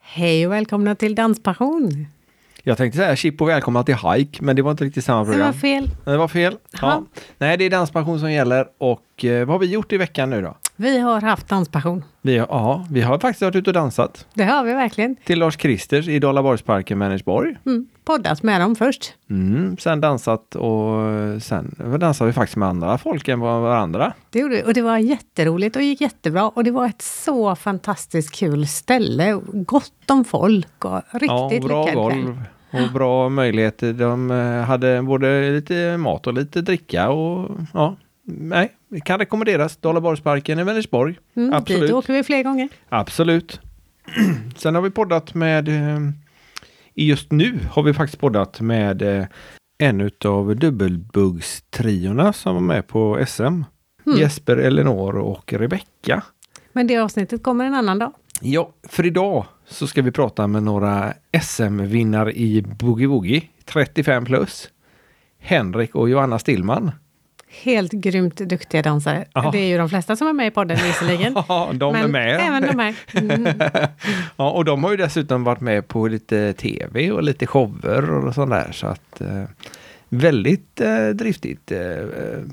Hej och välkomna till Danspassion. Jag tänkte säga chip och välkomna till Hike, men det var inte riktigt samma Det program. var fel. Det var fel. Ja. Ja. Nej, det är danspassion som gäller och eh, vad har vi gjort i veckan nu då? Vi har haft danspassion. Vi, har- ja, vi har faktiskt varit ute och dansat Det har vi verkligen. till Lars Kristers i Dalaborgsparken, Vänersborg. Mm. Poddat med dem först. Mm, sen dansat och eh, sen dansade vi faktiskt med andra folk än var- varandra. Det gjorde vi. Och det var jätteroligt och gick jättebra. Och det var ett så fantastiskt kul ställe. Gott om folk och riktigt ja, och bra lyckad kväll. golv och bra möjligheter. De eh, hade både lite mat och lite dricka och ja, nej, det kan rekommenderas. Dalaborgsparken i Vänersborg. Mm, Absolut. Dit åker vi fler gånger. Absolut. Sen har vi poddat med, eh, i just nu har vi faktiskt poddat med eh, en utav dubbelbuggstriorna som var med på SM. Mm. Jesper, Elinor och Rebecka. Men det avsnittet kommer en annan dag. Ja, för idag så ska vi prata med några SM-vinnare i Boogie Woogie 35 plus. Henrik och Joanna Stillman. Helt grymt duktiga dansare. Ja. Det är ju de flesta som är med i podden visserligen. Ja, de är Men med. Även de här. Mm. Ja, och de har ju dessutom varit med på lite tv och lite shower och sånt där. Så att, eh, väldigt eh, driftigt eh,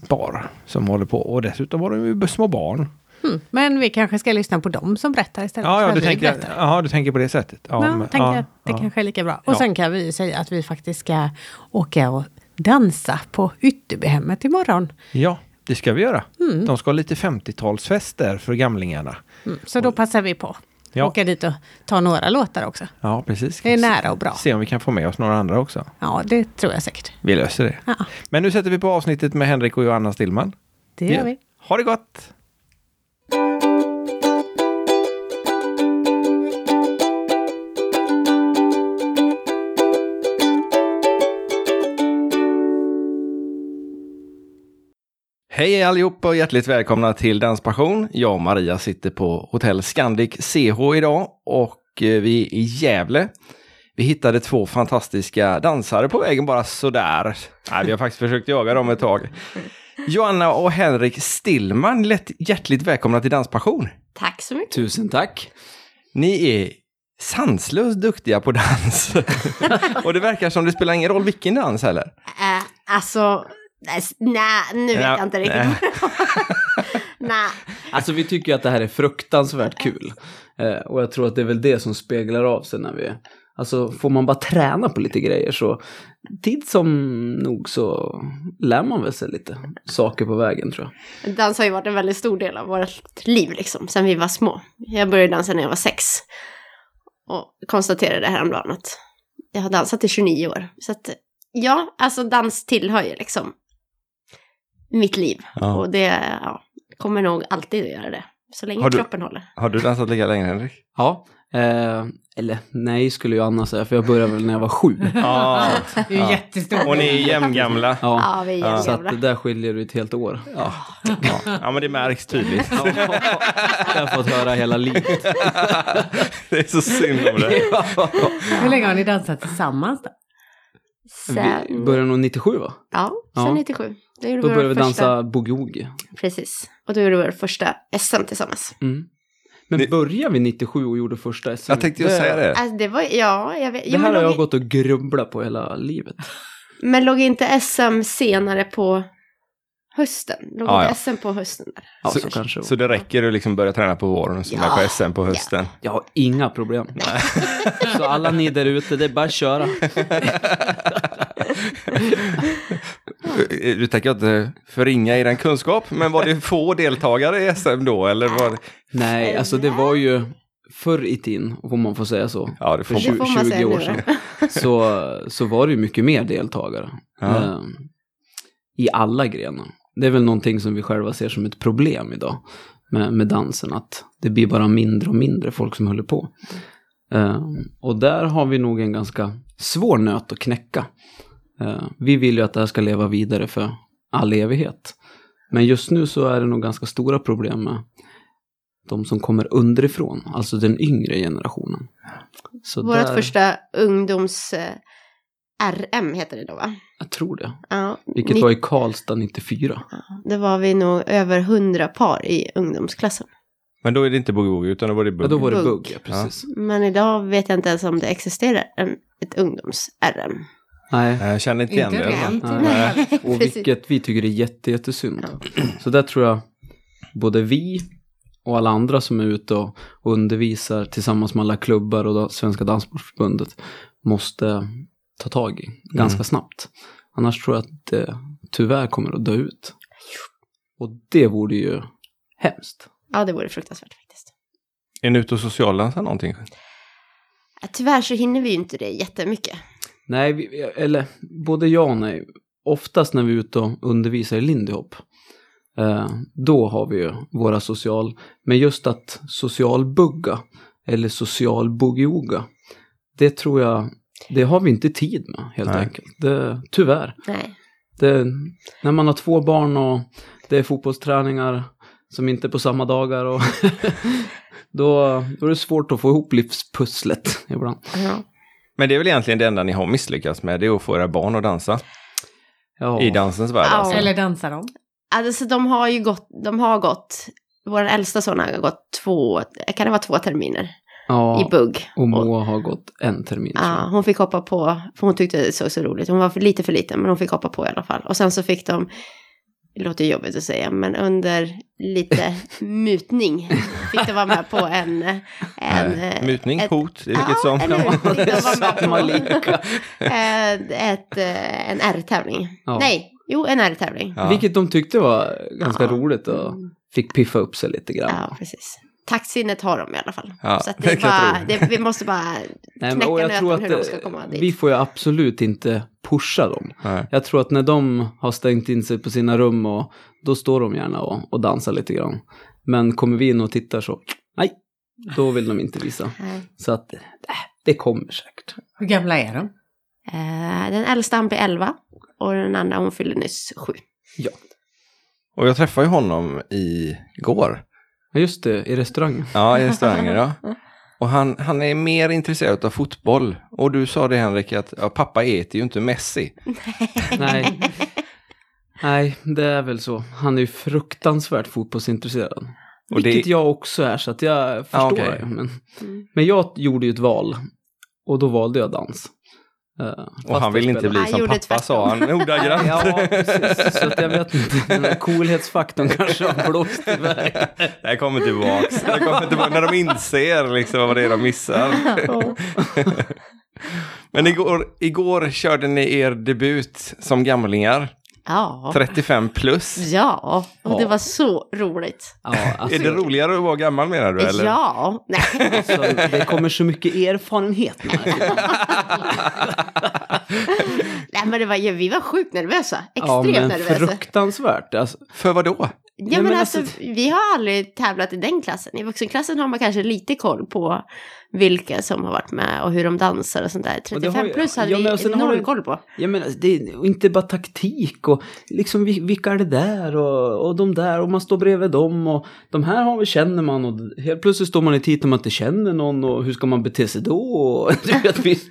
par som håller på. Och dessutom var de ju små barn. Mm. Men vi kanske ska lyssna på dem som berättar istället. Ja, ja, för du vi tänker, berättar. ja, du tänker på det sättet. Ja, men- tänker ja, att det ja. kanske är lika bra. Och Ja. sen kan vi säga att vi faktiskt ska åka och dansa på Ytterbyhemmet imorgon. ja, det ska vi göra. De ska ha lite 50-talsfest där för gamlingarna. Mm. Så då passar vi på. Ja. Åka dit och ta några låtar också. Ja, precis. Det är nära och bra. Se om vi kan få med oss några andra också. Ja, det tror jag säkert. Vi löser det. Ja, Men nu sätter vi på avsnittet med Henrik och Johanna Stillman. det gör Ja. vi. Ha det gott! Hej allihopa och hjärtligt välkomna till Danspassion. Jag och Maria sitter på Hotell Scandic CH idag och eh, vi är i Gävle. Vi hittade två fantastiska dansare på vägen bara sådär. Nej, vi har faktiskt försökt jaga dem ett tag. Joanna och Henrik Stillman, lätt, hjärtligt välkomna till Danspassion. Tack så mycket. Tusen tack. Ni är sanslöst duktiga på dans. och det verkar som det spelar ingen roll vilken dans heller. Eh, alltså, nej, s- nej, nu vet Ja, jag inte nej. riktigt. nej. Alltså vi tycker ju att det här är fruktansvärt kul. Eh, och jag tror att det är väl det som speglar av sig när vi... Alltså får man bara träna på lite grejer så tid som nog så lär man väl sig lite saker på vägen tror jag. Dans har ju varit en väldigt stor del av vårt liv liksom, sen vi var små. Jag började dansa när jag var sex. Och konstaterade häromdagen att jag har dansat i 29 år. Så att, ja, alltså dans tillhör ju liksom mitt liv. Ja. Och det ja, kommer nog alltid att göra det. Så länge Har du- kroppen håller. Har du dansat lika länge Henrik? Ja, eh, eller nej skulle ju Anna säga för jag började väl när jag var sju. Ja, Det är Ja. jättestort. och ni är jämngamla. Ja, Ja, vi är så jävla. att det där skiljer ut ett helt år. Ja. Ja, men det märks tydligt. Ja, det har jag fått höra hela livet. Det är så synd om det. Hur länge har ni dansat tillsammans? Då? Vi Sen, började nog 97 va? ja, sen Ja. 97. Det gjorde Då vår började vi första- dansa boogie-woogie. Precis. Och då gjorde vi vår första SM tillsammans. Mm. Men Det- började vi 97 och gjorde första SM? Jag tänkte ju säga det. Alltså det var, ja, jag vet. Det jo, här men, har låg, jag gått och grubblat på hela livet. men låg inte SM senare på hösten? Låg Ja, Ah, inte ja. SM på hösten där? Ja, Så- så, kanske det Så var. det räcker att liksom börja träna på våren och så med på Ja. SM på hösten. Jag har inga problem. så alla ni där ute, det är bara att köra. Du tänker jag inte förringa er kunskap, men var det få deltagare i SM då? Eller var det... Nej, alltså det var ju förr i tiden, om man får säga så. Ja, det får För man. Det får man 20, säga nu, år sedan. Så, så var det ju mycket mer deltagare. Ja. Ehm, I alla grenar. Det är väl någonting som vi själva ser som ett problem idag. Med, med dansen, att det blir bara mindre och mindre folk som håller på. Ehm, och där har vi nog en ganska svår nöt att knäcka. Ehm, vi vill ju att det här ska leva vidare för all evighet. Men just nu så är det nog ganska stora problem med de som kommer underifrån, alltså den yngre generationen. Så Vårt där- första ungdoms... Eh, RM heter det då va? Jag tror det. Ja, Vilket ni- var i Karlstad 94. Det var vi nog över hundra par i ungdomsklassen. Men då är det inte boogie-woogie utan då var det bugg. Ja, då var det Bugg. bugg, ja, precis. Men idag vet jag inte ens om det existerar en, ett ungdoms-RM. Nej. Jag Eh, känner inte igen Inte det. rent. Nej. Nej. Och Precis. vilket vi tycker är jätte, jättesynd. Så där tror jag både vi och alla andra som är ute och undervisar tillsammans med alla klubbar och Svenska Danssportförbundet måste ta tag i ganska snabbt. Annars tror jag att det tyvärr kommer att dö ut. Och det vore ju hemskt. Ja, det vore fruktansvärt faktiskt. Är ni ute och socialdansar någonting? Ja, Tyvärr så hinner vi ju inte det jättemycket. Nej, vi, eller både ja och nej. Oftast när vi är ute och undervisar i Lindy Hop, eh, då har vi ju våra social... Men just att socialbugga, eller social boogieooga, det tror jag, det har vi inte tid med helt Nej. enkelt. Det, tyvärr. Nej. Det, när man har två barn och det är fotbollsträningar som inte är på samma dagar och då, då är det svårt att få ihop livspusslet ibland. Ja. Men det är väl egentligen det enda ni har misslyckats med, det är att få era barn att dansa. Ja. I dansens värld Ja. alltså. Eller dansar de? Alltså de har ju gått, de har gått, vår äldsta son har gått två, kan det vara två terminer Ja. i bugg. Och Moa har gått en termin. liksom. tror jag. Ja, hon fick hoppa på, för hon tyckte det såg så roligt. Hon var för, lite för liten, men hon fick hoppa på i alla fall. Och sen så fick de, det låter jobbigt att säga, men under lite mutning fick de vara med på en... en eh, Nej. Mutning, ett- hot, det är vilket som. eller hur? Fick de Samma vara med på lika. ett, ett, eh, en R-tävling. Ja. Nej, jo en R-tävling. Ja. Vilket de tyckte var ganska Ja. roligt och fick piffa upp sig lite grann. Ja, precis. Taktsinnet har de i alla fall. Ja, så att det det är kan jag bara, det, vi måste bara Nej, knäcka och jag tror nöten hur de att ska komma eh, dit. vi får ju absolut inte pusha dem. Nej. Jag tror att när de har stängt in sig på sina rum och då står de gärna och, och dansar lite grann. Men kommer vi in och tittar så, nej, då vill de inte visa. Nej. Så att, äh, det kommer säkert. Hur gamla är de? Eh, den äldsta han blir 11 och den andra hon fyller nyss 7. Ja, Och jag träffade ju honom igår. Ja, just det, i restaurangen. Ja, i restaurangen ja. Och han, han är mer intresserad av fotboll. Och du sa det Henrik att ja, pappa äter ju inte Messi. Nej. Nej, det är väl så. Han är ju fruktansvärt fotbollsintresserad. Och det- Vilket jag också är, så att jag förstår okej. det. Men, Mm. men jag gjorde ju ett val. Och då valde jag dans. Eh, Och fast han vill jag inte spelar- bli Han som gjorde pappa sa han Nej, ordagrant. Ja, precis. Så att jag vet inte. Den här coolhetsfaktorn kanske har blåst iväg. Det här kommer tillbaks. Det här kommer tillbaka när de inser liksom vad det är de missar. Men igår, igår körde ni er debut som gamlingar. Ja. 35 plus. Ja, och det Ja. var så roligt. Ja, alltså, Är det roligare att vara gammal menar du? Eller? Ja, nej. alltså, det kommer så mycket erfarenhet. Här. nej men det var, ju- vi var sjukt nervösa. Extremt Ja, men nervösa. fruktansvärt. Alltså, För vad då? Ja, men men alltså, alltså- vi har aldrig tävlat i den klassen. I vuxenklassen har man kanske lite koll på vilka som har varit med och hur de dansar och sånt där. Och det 35 har ju- plus hade ja, men och vi sen har noll du- koll på. Jag menar, alltså, det är och inte bara taktik och liksom vil- vilka är det där och, och de där och man står bredvid dem och de här har, känner man och helt plötsligt står man i tid när man inte känner någon och hur ska man bete sig då? Och, du vet, visst.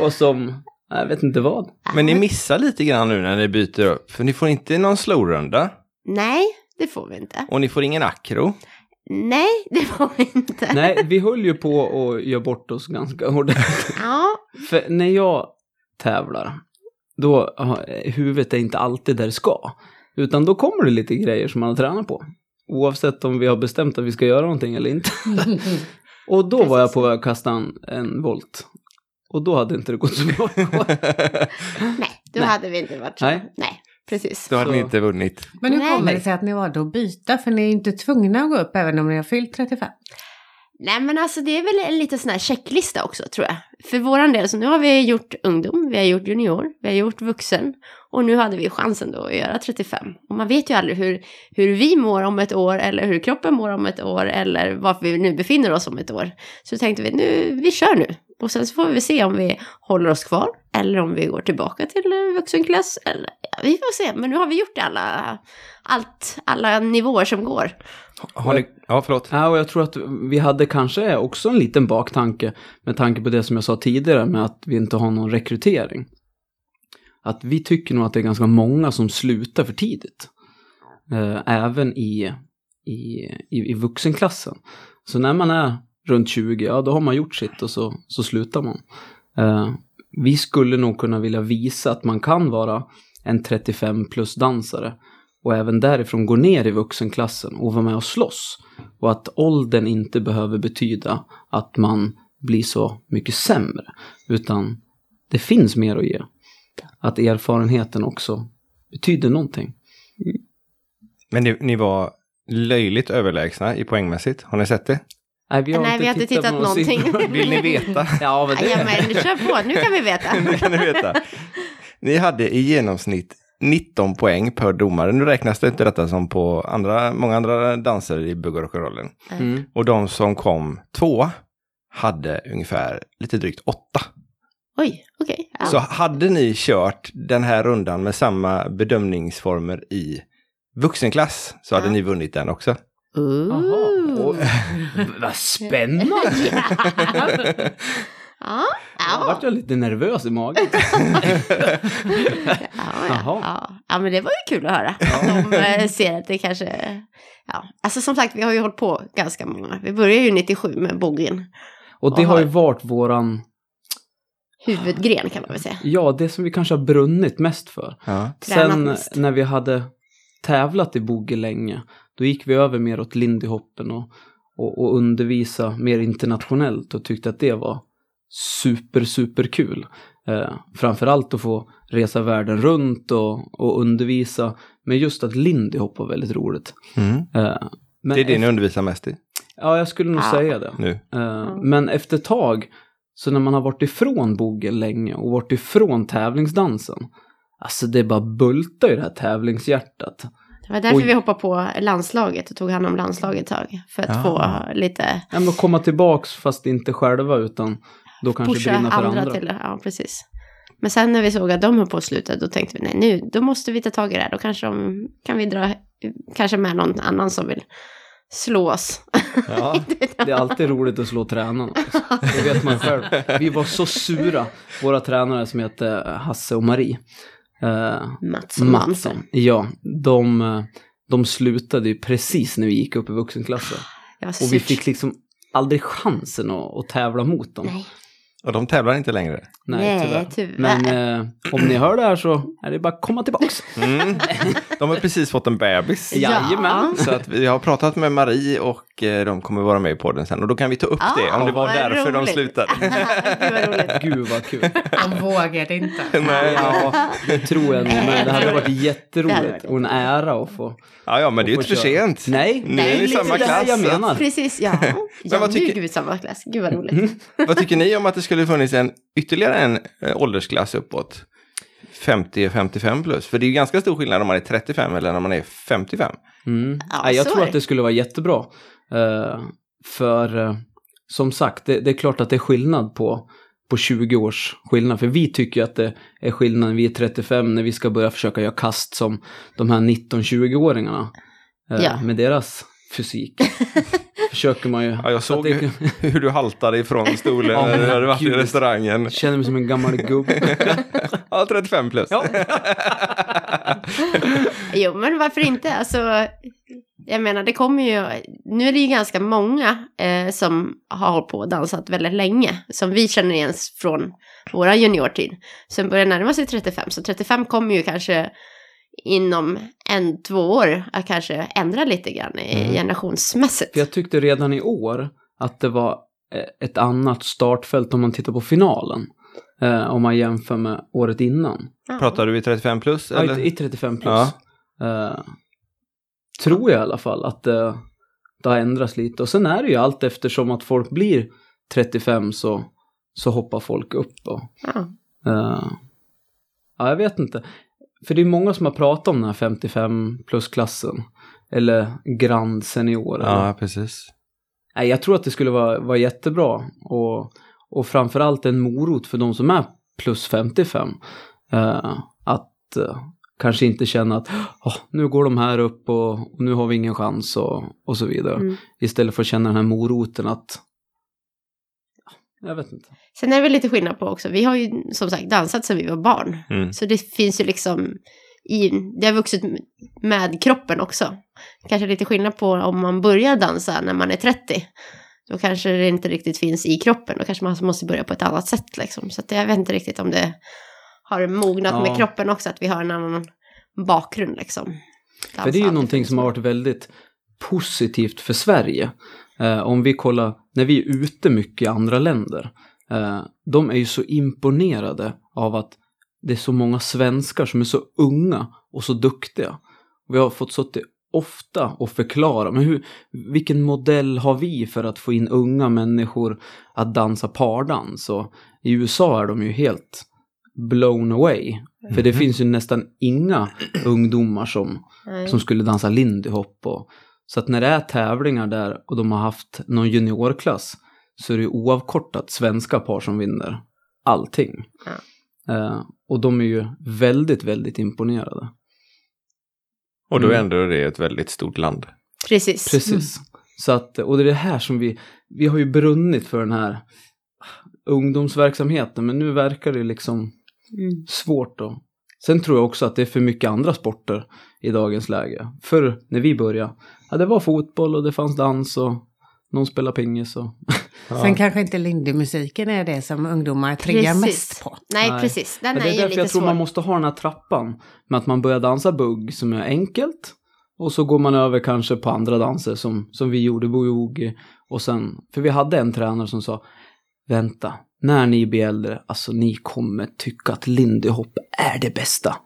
och som, jag vet inte vad. Men ni missar lite grann nu när ni byter upp. För ni får inte någon slowrunda. Nej, det får vi inte. Och ni får ingen akro. Nej, det får vi inte. Nej, vi höll ju på och göra bort oss ganska ordentligt. Ja, För när jag tävlar, då ja, huvudet är inte alltid där det ska. Utan då kommer det lite grejer som man har tränat på. Oavsett om vi har bestämt att vi ska göra någonting eller inte. Och då var jag på väg att kasta en, en volt. Och då hade inte det gått så bra. nej, då Nej. hade vi inte varit så. Nej. nej precis. Då hade ni Så. inte vunnit. Men hur Nej. kommer det sig att ni valde att byta? För ni är ju inte tvungna att gå upp även om ni har fyllt 35. Nej men alltså det är väl en liten sån här checklista också tror jag. För våran del, så nu har vi gjort ungdom, vi har gjort junior, vi har gjort vuxen. Och nu hade vi chansen då att göra 35. Och man vet ju aldrig hur, hur vi mår om ett år eller hur kroppen mår om ett år eller varför vi nu befinner oss om ett år. Så tänkte vi, nu, vi kör nu. Och sen så får vi se om vi håller oss kvar eller om vi går tillbaka till eh, vuxenklass. Eller, ja, vi får se, men nu har vi gjort alla, allt, alla nivåer som går. Har ni... Ja, förlåt. Ja, och jag tror att vi hade kanske också en liten baktanke med tanke på det som jag sa tidigare med att vi inte har någon rekrytering. Att vi tycker nog att det är ganska många som slutar för tidigt. Eh, Även i, i, i, i vuxenklassen. Så när man är runt 20, ja då har man gjort sitt och så, så slutar man. Eh, vi skulle nog kunna vilja visa att man kan vara en 35 plus dansare och även därifrån gå ner i vuxenklassen och vara med och slåss. Och att åldern inte behöver betyda att man blir så mycket sämre, utan det finns mer att ge. Att erfarenheten också betyder någonting. Men ni, ni var löjligt överlägsna i poängmässigt. Har ni sett det? Nej, vi Nej, vi har inte tittat på någon någonting. siffra. Vill ni veta? Ja, men det, Jajamän, kör på, nu kan vi veta. nu kan ni veta. Ni hade i genomsnitt 19 poäng per domare. Nu räknas det inte detta som på andra, många andra danser i bugg och rock'n'rollen. mm. Och de som kom tvåa hade ungefär lite drygt åtta. Oj, okej. Ja. Så hade ni kört den här rundan med samma bedömningsformer i vuxenklass så hade Ja. ni vunnit den också. Ooh. Jaha. Vad spännande! Ja, Jag ja, vart jag lite nervös i magen. ja, ja, Jaha. ja. ja, men det var ju kul att höra. Att de eh, ser att det kanske... Ja. Alltså som sagt, vi har ju hållit på ganska många. Vi började ju 97 med boggin. Och det har ju Jaha. varit våran, Huvudgren kan man väl säga. ja det som vi kanske har brunnit mest för. Ja. Tränat Sen mest. när vi hade tävlat i boogie länge, då gick vi över mer åt lindyhoppen och, och, och undervisa mer internationellt och tyckte att det var super, super kul. Eh, framförallt att få resa världen runt och, och undervisa, men just att lindyhop var väldigt roligt. Mm. Eh, men Det är det ni efter, undervisar mest i Ja, jag skulle nog Ja. säga det. nu. Eh, Men efter ett tag, så när man har varit ifrån boogie länge och varit ifrån tävlingsdansen, alltså det bara bultar i det här tävlingshjärtat. Det var därför Oj. vi hoppade på landslaget och tog hand om landslaget ett tag. För att Ja. få lite... Ja, men komma tillbaks fast inte själva utan då kanske pusha brinna för andra, andra. till det. Ja, precis. Men sen när vi såg att de höll på att sluta, då tänkte vi nej, nu då måste vi ta tag i det här. Då kanske de, kan vi dra, kanske med någon annan som vill slå oss. Ja. Det är alltid roligt att slå tränarna. alltså. Det vet man själv. Vi var så sura, våra tränare som hette Hasse och Marie. Eh, Mats och Mansson. Mattsson. Ja, de, eh, de slutade ju precis när vi gick upp i vuxenklassen. Det var Och vi surt. fick liksom aldrig chansen att, att tävla mot dem. Nej, Och de tävlar inte längre. Nej, Nej, tyvärr. tyvärr. Men eh, om ni hör det här så är det bara att komma tillbaks. Mm. De har precis fått en bebis. Ja. Jajamän. Så att vi har pratat med Marie och eh, de kommer vara med i podden sen. Och då kan vi ta upp det, om det var Ah, vad därför de roligt. slutade. Gud, vad roligt. Gud vad kul. Han vågade inte. Nej. Ja, det tror jag nog. Men det hade varit Det hade varit jätteroligt och en ära att få. Ja, ja, men det är ju få inte för köra. sent. Nej, Ni är Nej, i lite samma där klass. jag menar. Precis, ja. ja vad nu tycker- Mm. gick vi i samma klass. Gud vad roligt. Vad tycker ni om att det skulle funnits en, ytterligare en eh, åldersklass uppåt? 50 och 55 plus. För det är ju ganska stor skillnad om man är 35 eller när man är 55. Mm. Ja, Nej, jag så tror är att det. det skulle vara jättebra. Eh, för eh, som sagt, det, det är klart att det är skillnad på, på 20 års skillnad. För vi tycker ju att det är skillnad när vi är 35, när vi ska börja försöka göra kast som de här 19-20-åringarna. eh, Ja. Med deras fysik. försöker man ju. Ja, jag Så att såg ju hur du haltade ifrån stolen Ja, när du men hade varit i gud. restaurangen. Jag känner mig som en gammal gubbe. Ja, 35 plus. Ja. Jo, men varför inte? Alltså, jag menar, det kommer ju... Nu är det ju ganska många eh, som har hållit på och dansat väldigt länge, som vi känner igen från vår juniortid. Som börjar närma sig 35, så 35 kommer ju kanske inom en, två år att kanske ändra lite grann i Mm. generationsmässigt. För jag tyckte redan i år att det var eh, ett annat startfält om man tittar på finalen. Eh, om man jämför med året innan. Ja. Pratar du i 35 plus? Ja, Eller? i, i 35 plus. Ja. Eh, tror jag i alla fall att eh, det har ändrats lite. Och sen är det ju allt eftersom att folk blir 35 så, så hoppar folk upp. Och, Ja. eh, ja, jag vet inte. För det är många som har pratat om den här 55 plus-klassen. Eller grand senior. eller Ja, precis. Nej, jag tror att det skulle vara, vara jättebra. Och, och framförallt en morot för de som är plus 55. Eh, att eh, kanske inte känna att "Åh, nu går de här upp och, och nu har vi ingen chans och, och så vidare. Mm. Istället för att känna den här moroten att Ja, jag vet inte. Sen är det väl lite skillnad på också, vi har ju som sagt dansat sedan vi var barn. Mm. Så det finns ju liksom i, det har vuxit med kroppen också. Kanske lite skillnad på om man börjar dansa när man är 30. Då kanske det inte riktigt finns i kroppen, då kanske man måste börja på ett annat sätt liksom. Så att jag vet inte riktigt om det har mognat Ja. med kroppen också, att vi har en annan bakgrund liksom. För det är ju Dansa. någonting som har varit väldigt positivt för Sverige. Eh, om vi kollar, när vi är ute mycket i andra länder, eh, de är ju så imponerade av att det är så många svenskar som är så unga och så duktiga. Vi har fått suttit ofta och förklara, men hur, vilken modell har vi för att få in unga människor att dansa pardans? Och I USA är de ju helt blown away. För det Mhm. finns ju nästan inga ungdomar som Nej. som skulle dansa lindy hop. Och, så att när det är tävlingar där och de har haft någon juniorklass så är det ju oavkortat svenska par som vinner allting. Ja. Eh, och de är ju väldigt, väldigt imponerade. Och då är Mm. ändå det ett väldigt stort land. Precis. Precis. Så att, och det är det här som vi, vi har ju brunnit för den här ungdomsverksamheten, men nu verkar det liksom Mm. svårt då. Sen tror jag också att det är för mycket andra sporter i dagens läge. Förr när vi började, ja det var fotboll och det fanns dans och någon spelade pingis och... Sen kanske inte lindymusiken är det som ungdomar triggar Precis. mest på. Nej, Nej. precis. Den Men är, det är ju därför lite jag tror svår. man måste ha den här trappan. Med att man börjar dansa bugg som är enkelt. Och så går man över kanske på andra danser som, som vi gjorde, boogie Och sen, för vi hade en tränare som sa, vänta, när ni blir äldre, alltså ni kommer tycka att lindy hop är det bästa.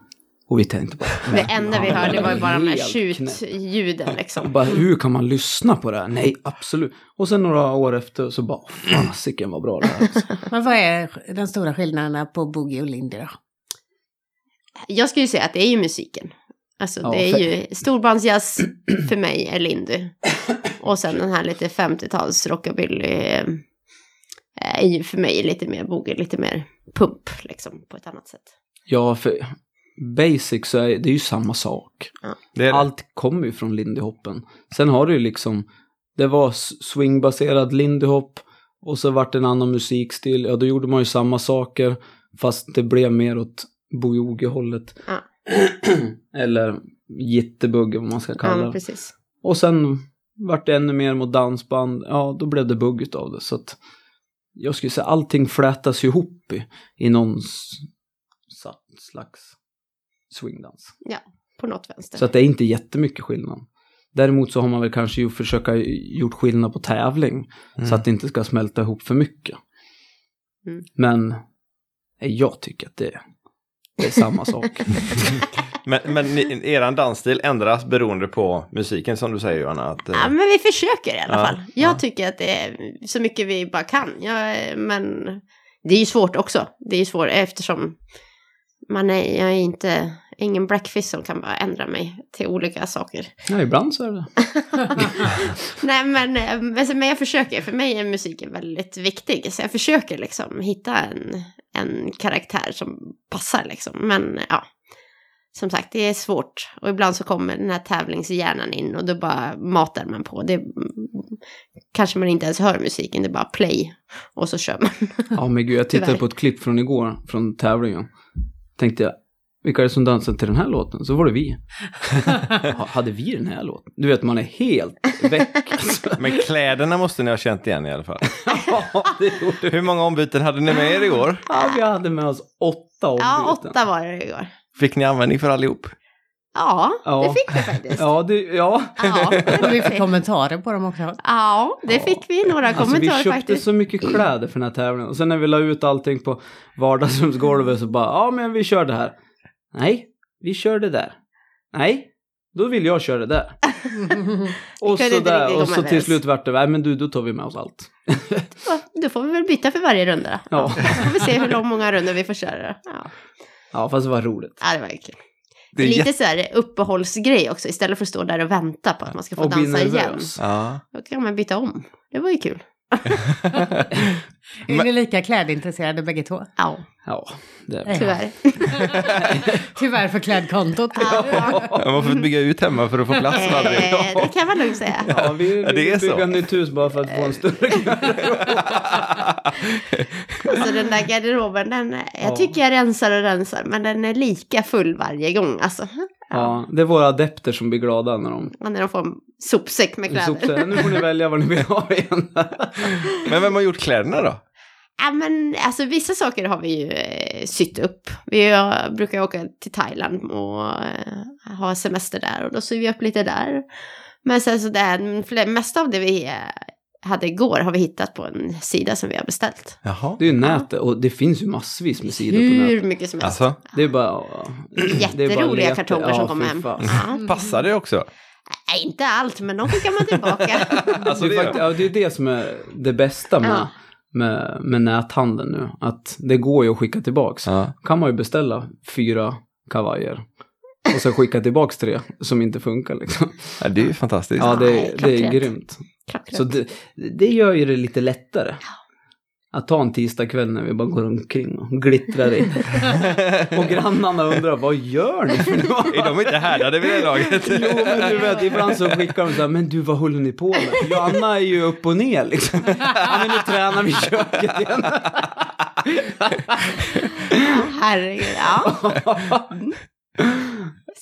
Och vi tänkte bara, Det enda vi han hörde är var ju bara de här helt knäpp. tjutljuden liksom. Bara, hur kan man lyssna på det här? Nej, absolut. Och sen några år efter så bara, fasiken vad bra det här är." Men vad är den stora skillnaden på boogie och lindy då? Jag skulle ju säga att det är ju musiken. Alltså Ja, det är för- ju storbandsjazz för mig är Lindy. Och sen den här lite 50-tals rockabilly eh, är ju för mig lite mer boogie, lite mer pump liksom på ett annat sätt. Ja, för basic så är det är ju samma sak. Det är det. Allt kommer ju från lindy hopen. Sen har du ju liksom, det var s- swingbaserad lindy hop och så vart det en annan musikstil. Ja, då gjorde man ju samma saker fast det blev mer åt boogie-hållet. Ja. Eller jitterbug vad man ska Ja, kalla men det. precis. Och sen vart det ännu mer mot dansband. Ja, då blev det bugg utav det. Så att jag skulle säga allting flätas ju ihop i, i någon s- sa- slags swingdans. På något vänster. Så att det är inte jättemycket skillnad. Däremot så har man väl kanske ju försöka gjort skillnad på tävling så att det inte ska smälta ihop för mycket. Mm. Men eh, jag tycker att det, det är samma sak. Men, men ni- eran dansstil ändras beroende på musiken som du säger Johanna. Att, eh, Ja, men vi försöker i alla Ja, fall. Jag ja. tycker att det är så mycket vi bara kan. Jag, eh, men det är ju svårt också. Det är ju svårt eftersom man är, jag är inte, ingen breakfast som kan bara ändra mig till olika saker. ja, ibland så är det. Nej, men, eh, men så- men jag försöker. För mig är musiken väldigt viktig. Så jag försöker liksom hitta en, en karaktär som passar liksom. Men eh, ja, som sagt, det är svårt. Och ibland så kommer den här tävlingshjärnan in och då bara matar man på. Det kanske man inte ens hör musiken, det är bara play. Och så kör man. Ja men gud, jag tittade Tyvärr. på ett klipp från igår, från tävlingen. Tänkte jag, vilka är det som dansar till den här låten? Så var det vi. Ha- Hade vi den här låten? Du vet, man är helt väck. alltså. Men kläderna måste ni ha känt igen i alla fall. ja, det gjorde vi. Hur många ombyten hade ni med er i år? Ja, vi hade med oss åtta ombyten. Ja, åtta var det igår. Fick ni användning för allihop? Ja, Ja. det fick vi faktiskt. Ja, Ja, det, ja. det Och vi fick får vi. kommentarer på dem också. Ja, det Ja. fick vi. Några Alltså vi kommentarer köpte faktiskt. så mycket kläder för den här tävlingen och sen när vi la ut allting på vardagsrumsgolvet så bara ja men vi kör det här. Nej, vi kör det där. Nej, då vill jag köra det där. kunde Och inte så riktigt där och komma så till överens. slut vart det nej men du då tar vi med oss allt. Då får vi väl byta för varje runda då. Ja, Då får vi se hur lång- många runder vi får köra. då. Ja, ja fast det var roligt. ja det var ju kul. Det är Lite jätte- så här uppehållsgrej också, istället för att stå där och vänta på att man ska få Och bli dansa igen. nervös. Ja. Då kan man byta om. Det var ju kul. Är ni lika klädintresserade bägge två? Ja, Ja, det är Nej. väl. tyvärr. Tyvärr för klädkontot. typ, Ja, Man får bygga ut hemma för att få plats med allting. eh, det kan man nog säga. Ja, vi vill Ja, det är så. bygga ett nytt hus bara för att få en större Alltså den där garderoben, den, jag Ja. tycker jag rensar och rensar, men den är lika full varje gång. Alltså, Ja, det är våra adepter som blir glada när de... Och när de får en sopsäck med En kläder. sopsäck. Nu får ni välja vad ni vill ha igen. Men vem har gjort kläderna då? Ja, men alltså vissa saker har vi ju eh, sytt upp. Vi eh, brukar ju åka till Thailand och eh, ha semester där och då syr vi upp lite där. Men sen så det här, för det mesta av det vi eh, hade igår har vi hittat på en sida som vi har beställt. Jaha. Det är ju nätet och det finns ju massvis med sidor på Hur nätet. mycket som helst. Alltså, Det är bara... det är bara att Jätteroliga leta. kartonger som Ja, kommer fy hem. fan. Ja. passar det också? Nej, inte allt, men de skickar man tillbaka. Alltså, det, är fakt- ja, det är det som är det bästa med, Ja. med, med näthandeln nu. Att det går ju att skicka tillbaks. Ja. kan man ju beställa fyra kavajer. Och sen skicka tillbaks tre som inte funkar liksom. Ja, det är ju fantastiskt. Ja, det, Nej, det är klockrent. grymt. Klockrent. Så det, det gör ju det lite lättare. Att ta en tisdagkväll när vi bara går omkring och glittrar in. och grannarna undrar, vad gör ni för något? Är de inte härdade vid det laget? Jo, men du vet, ibland så skickar de så här, men du vad håller ni på med? Joanna är ju upp och ner liksom. Ja, men nu tränar vi i köket igen. Ja, herregud. Ja.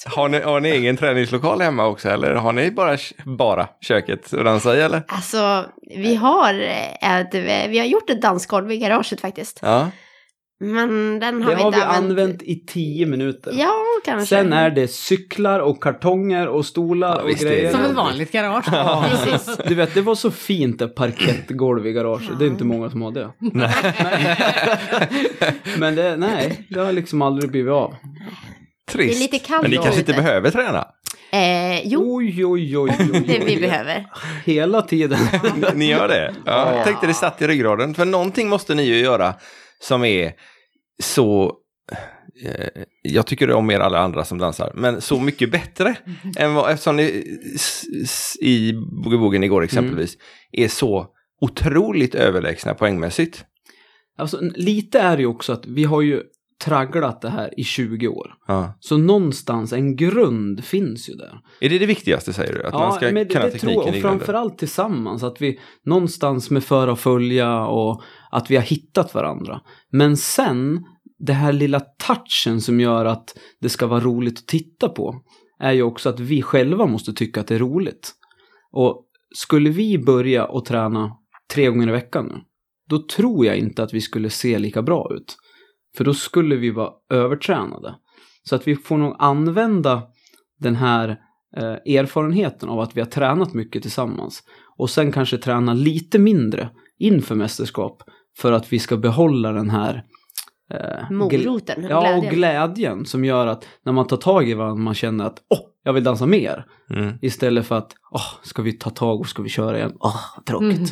Har ni, har ni egen träningslokal hemma också eller har ni bara, bara köket och dansa i eller? Alltså, vi har, eh, ett, vi har gjort ett dansgolv i garaget faktiskt. Ja. Men den har Det vi har inte vi använt i tio minuter. Ja, kanske. Sen är det cyklar och kartonger och stolar Ja, och visst är det. grejer. Som ett vanligt garage. Ja, precis. Du vet, det var så fint ett parkettgolv i garaget. Det är inte många som har det. Men det, nej, det har liksom aldrig blivit av. Trist. Det är lite kallt Men ni kanske inte ute. behöver träna? Eh, jo, Oj, oj, oj, oj, det vi oj. behöver. Hela tiden. Ni gör det? Ja. Jag tänkte det satt i ryggraden. För någonting måste ni ju göra som är så... eh, Jag tycker om er alla andra som dansar, men så mycket bättre. Än vad, eftersom ni s- s- i Boogie-Woogen igår exempelvis är så otroligt överlägsna poängmässigt. Alltså, lite är det ju också att vi har ju tragglat det här i 20 år. Ja. Så någonstans, en grund finns ju där. Är det det viktigaste säger du? Att man ska men det, kunna det tekniken tror jag. Och i grunden? framförallt tillsammans. Att vi någonstans med föra och följa och att vi har hittat varandra. Men sen, det här lilla touchen som gör att det ska vara roligt att titta på. Är ju också att vi själva måste tycka att det är roligt. Och skulle vi börja och träna tre gånger i veckan nu. Då tror jag inte att vi skulle se lika bra ut. För då skulle vi vara övertränade. Så att vi får nog använda den här eh, erfarenheten av att vi har tränat mycket tillsammans och sen kanske träna lite mindre inför mästerskap för att vi ska behålla den här eh, gl- Moroten, ja, och glädjen. glädjen som gör att när man tar tag i varandra man känner att åh, jag vill dansa mer Mm. istället för att åh, ska vi ta tag och ska vi köra igen, åh, vad tråkigt.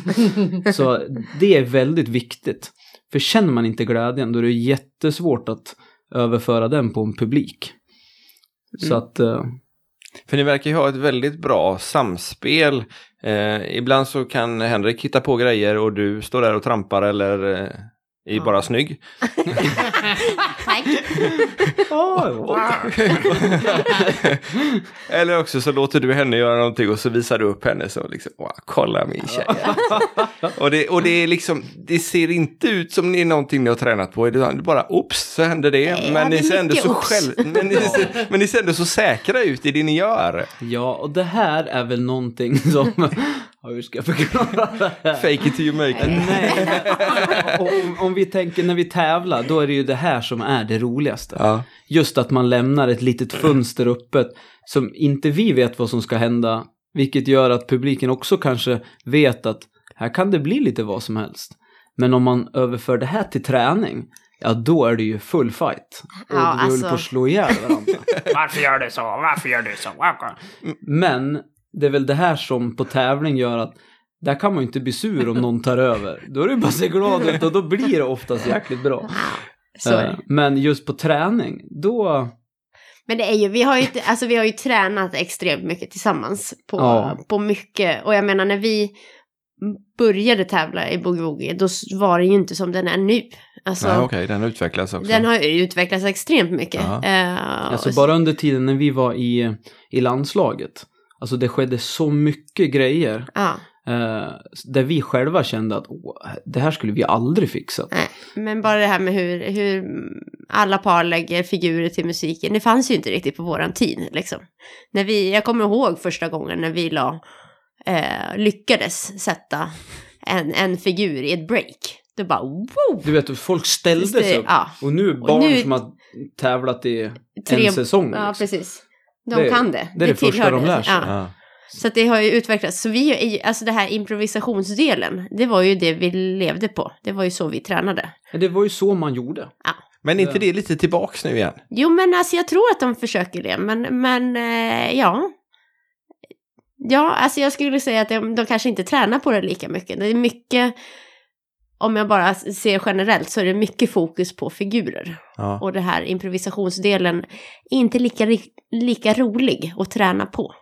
Så det är väldigt viktigt. För känner man inte glädjen då är det jättesvårt att överföra den på en publik. Så att eh, För ni verkar ju ha ett väldigt bra samspel. Eh, ibland så kan Henrik hitta på grejer och du står där och trampar eller eh, är bara snygg. Tack. Eller också så låter du henne göra någonting och så visar du upp henne så liksom, "Åh, kolla min tjej. och det, och det är liksom, det ser inte ut som det är någonting ni har tränat på, utan det bara, oops, så hände det. Nej, Men ja, det ni är ser ändå mycket så oops. själv, men ni, ser, men ni ser ändå så säkra ut i det ni gör. Ja, och det här är väl någonting som... Ja, hur ska jag förklara det här? Fake it till you make it. Nej. Om, om vi tänker när vi tävlar, då är det ju det här som är det roligaste. Ja. Just att man lämnar ett litet Mm. fönster öppet som inte vi vet vad som ska hända. Vilket gör att publiken också kanske vet att här kan det bli lite vad som helst. Men om man överför det här till träning, ja då är det ju full fight. Och Ja, vi håller alltså. på att slå ihjäl varandra. Varför gör du så? Varför gör du så? Varför? Men det är väl det här som på tävling gör att där kan man ju inte bli sur om någon tar över. Då är det bara att se glad ut och då blir det oftast jäkligt bra. Så är Eh, det. Men just på träning, då... Men det är ju, vi har ju, inte- alltså, vi har ju tränat extremt mycket tillsammans på, Ja. på mycket. Och jag menar när vi började tävla i boogie-woogie, då s- var den ju inte som den är nu. Alltså, Nej, okej, den utvecklas också. den har ju utvecklats extremt mycket. Ja. Eh, Alltså och- bara under tiden när vi var i, i landslaget. Alltså det skedde så mycket grejer. Ja, Eh, där vi själva kände att Åh, det här skulle vi aldrig fixat. nej. Men bara det här med hur, hur alla par lägger figurer till musiken, det fanns ju inte riktigt på våran tid. Liksom. När vi, jag kommer ihåg första gången när vi la, eh, lyckades sätta en, en figur i ett break. Då bara wow! Du vet, folk ställde Det- sig upp. ja. Och nu är barn nu- som har tävlat i Tre- en säsong. Ja, liksom. precis. De Det är- kan det. det är det första tillhör de det. lär sig. Ja. Ja. Så att det har ju utvecklats. Så vi, är ju- alltså det här improvisationsdelen, det var ju det vi levde på. Det var ju så vi tränade. Men Det var ju så man gjorde. Men är inte det lite tillbaks nu igen? Jo, men alltså jag tror att de försöker det, men, men eh, ja. Ja, alltså jag skulle säga att de, de kanske inte tränar på det lika mycket. Det är mycket, om jag bara ser generellt, så är det mycket fokus på figurer. Ja. Och det här improvisationsdelen är inte lika, ri- lika rolig att träna på.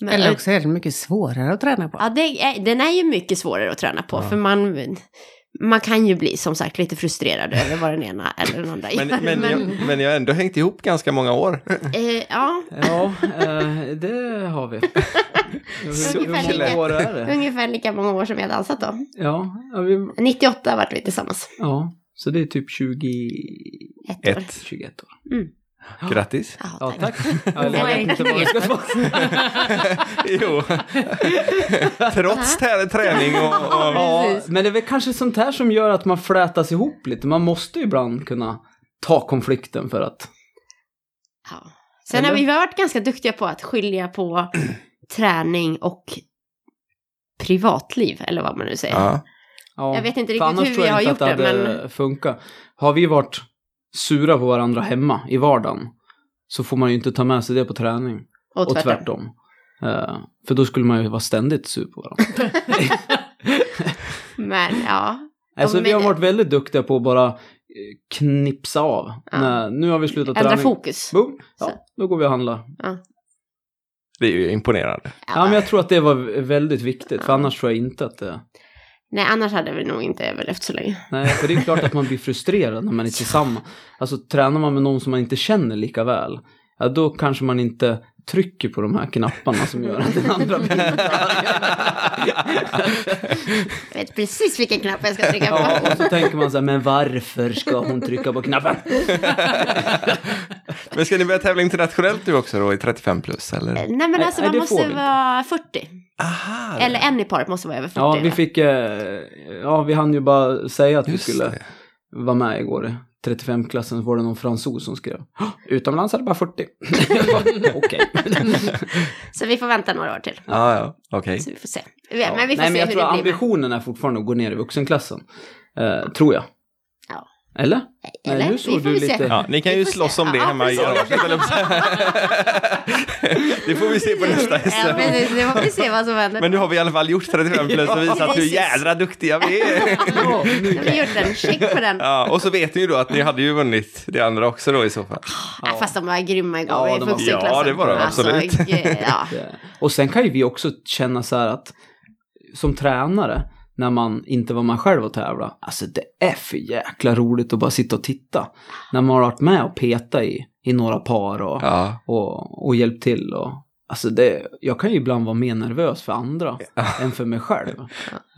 Men- eh, Eller också är den mycket svårare att träna på. Ja, det är, den är ju mycket svårare att träna på. Ja. För man, man kan ju bli som sagt lite frustrerad över vad den ena eller den andra Men, gör. men, jag, men jag har ändå hängt ihop ganska många år. eh, ja, Ja, eh, det har vi. Så hur, ungefär hur många lika. år är det? ungefär lika många år som vi har dansat då. Ja, ja, vi, 98 vart vi tillsammans. ja, så det är typ 20, Ett, år. Ett. 21 år. Grattis. Ja, Ja, tack. tack. Ja, jag vet inte vad jag ska svara. jo. Trots tä- träning och... och... Ja, Precis. men det är väl kanske sånt här som gör att man flätas ihop lite. Man måste ju ibland kunna ta konflikten för att... Ja. Sen har Eller? vi varit ganska duktiga på att skilja på träning och privatliv, eller vad man nu säger. Ja. Ja, Jag vet inte för riktigt annars hur tror vi jag har inte gjort att det det, hade funkat. Har vi varit sura på varandra hemma i vardagen så får man ju inte ta med sig det på träning. Och Och tvärtom. tvärtom. Eh, för då skulle man ju vara ständigt sur på varandra. Men ja, Alltså men- vi har varit väldigt duktiga på att bara eh, knipsa av. Ja. När, nu har vi slutat ändra träning. fokus. Boom. Ja, Så. då går vi och handlar. Det är ju imponerande. Ja, men jag tror att det var väldigt viktigt, för annars tror jag inte att det... Nej, annars hade vi nog inte överlevt så länge. Nej, för det är klart att man blir frustrerad när man är tillsammans. Alltså tränar man med någon som man inte känner lika väl, ja då kanske man inte trycker på de här knapparna som gör att den andra blir Jag vet precis vilken knapp jag ska trycka på. Ja, och så tänker man så här, men varför ska hon trycka på knappen? Men ska ni börja tävla internationellt nu också då i 35 plus eller? Nej men Nej, alltså nej, man det får måste vi inte. vara 40. Aha! Eller en i paret måste vara över 40. Ja, vi fick, eh, ja vi hann ju bara säga att vi Just skulle det. vara med igår. i 35-klassen var det någon fransos som skrev. "Hå, Utomlands är det bara 40. Okej. Så vi får vänta några år till. Ja, ja, okej. Så vi får se. Ja, Men vi får Nej, se men jag hur tror det blir. ambitionen är fortfarande att gå ner i vuxenklassen. Eh, tror jag. Ja. Eller? Eller? Nej, nu Vi såg får du väl se. lite... Ja, ni kan Vi ju får se. slåss om det Ja, hemma i precis. garaget. eller vad jag säger. Det får vi se på nästa Mm. Ja, SM. precis. Nu får vi se vad som händer. Men nu har vi i alla fall gjort 35 plus och visat hur Precis. jädra duktiga vi är. Ja, nu- Nu har vi gjort en check på den. Ja. Ja, och så vet ni ju då att ni hade ju vunnit det andra också då i så fall. Fast de var grymma igår Ja, i de var- vuxenklassen. Ja, det var de, absolut. g- ja. Eh, Och sen kan ju vi också känna så här att som tränare, när man inte var man själv och tävla, alltså det är för jäkla roligt att bara sitta och titta. När man har varit med och peta i, i några par och, Ja. och, och hjälpt till. Och, alltså det, jag kan ju ibland vara mer nervös för andra än för mig själv.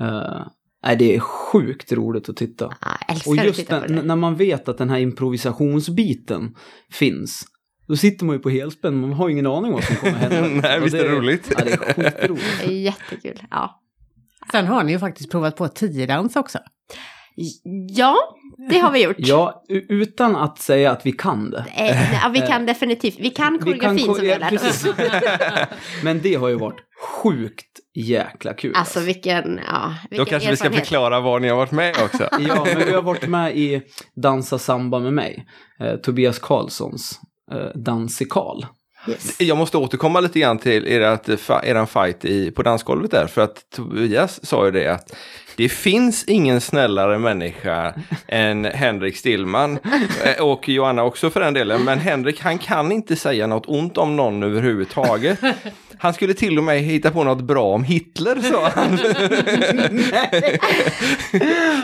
Eh, nej, det är sjukt roligt att titta. Ja, jag Och älskar att just titta på när, det. när man vet att den här improvisationsbiten finns, då sitter man ju på helspänn, man har ju ingen aning vad som kommer hända. Nej, Och visst är det roligt? Ja, det är skitroligt. Det är jättekul. Ja. Sen har ni ju faktiskt provat på tiodans också. ja, det har vi gjort. Ja, u- utan att säga att vi kan det. Eh, ja, vi kan definitivt, vi kan Vi kan koreografin ko- som vi ja, har lärt oss. precis. Men det har ju varit sjukt jäkla kul. Alltså vilken, ja, vilken Då kanske vi ska erfarenhet. förklara var ni har varit med också. Ja, men vi har varit med i Dansa samba med mig, eh, Tobias Karlssons eh, dansikal. Yes. Jag måste återkomma lite grann till ert, fa- eran fight i, på dansgolvet där. För att Tobias sa ju det att det finns ingen snällare människa än Henrik Stillman. eh, Och Johanna också för den delen. Men Henrik han kan inte säga något ont om någon överhuvudtaget. Han skulle till och med hitta på något bra om Hitler, sa han.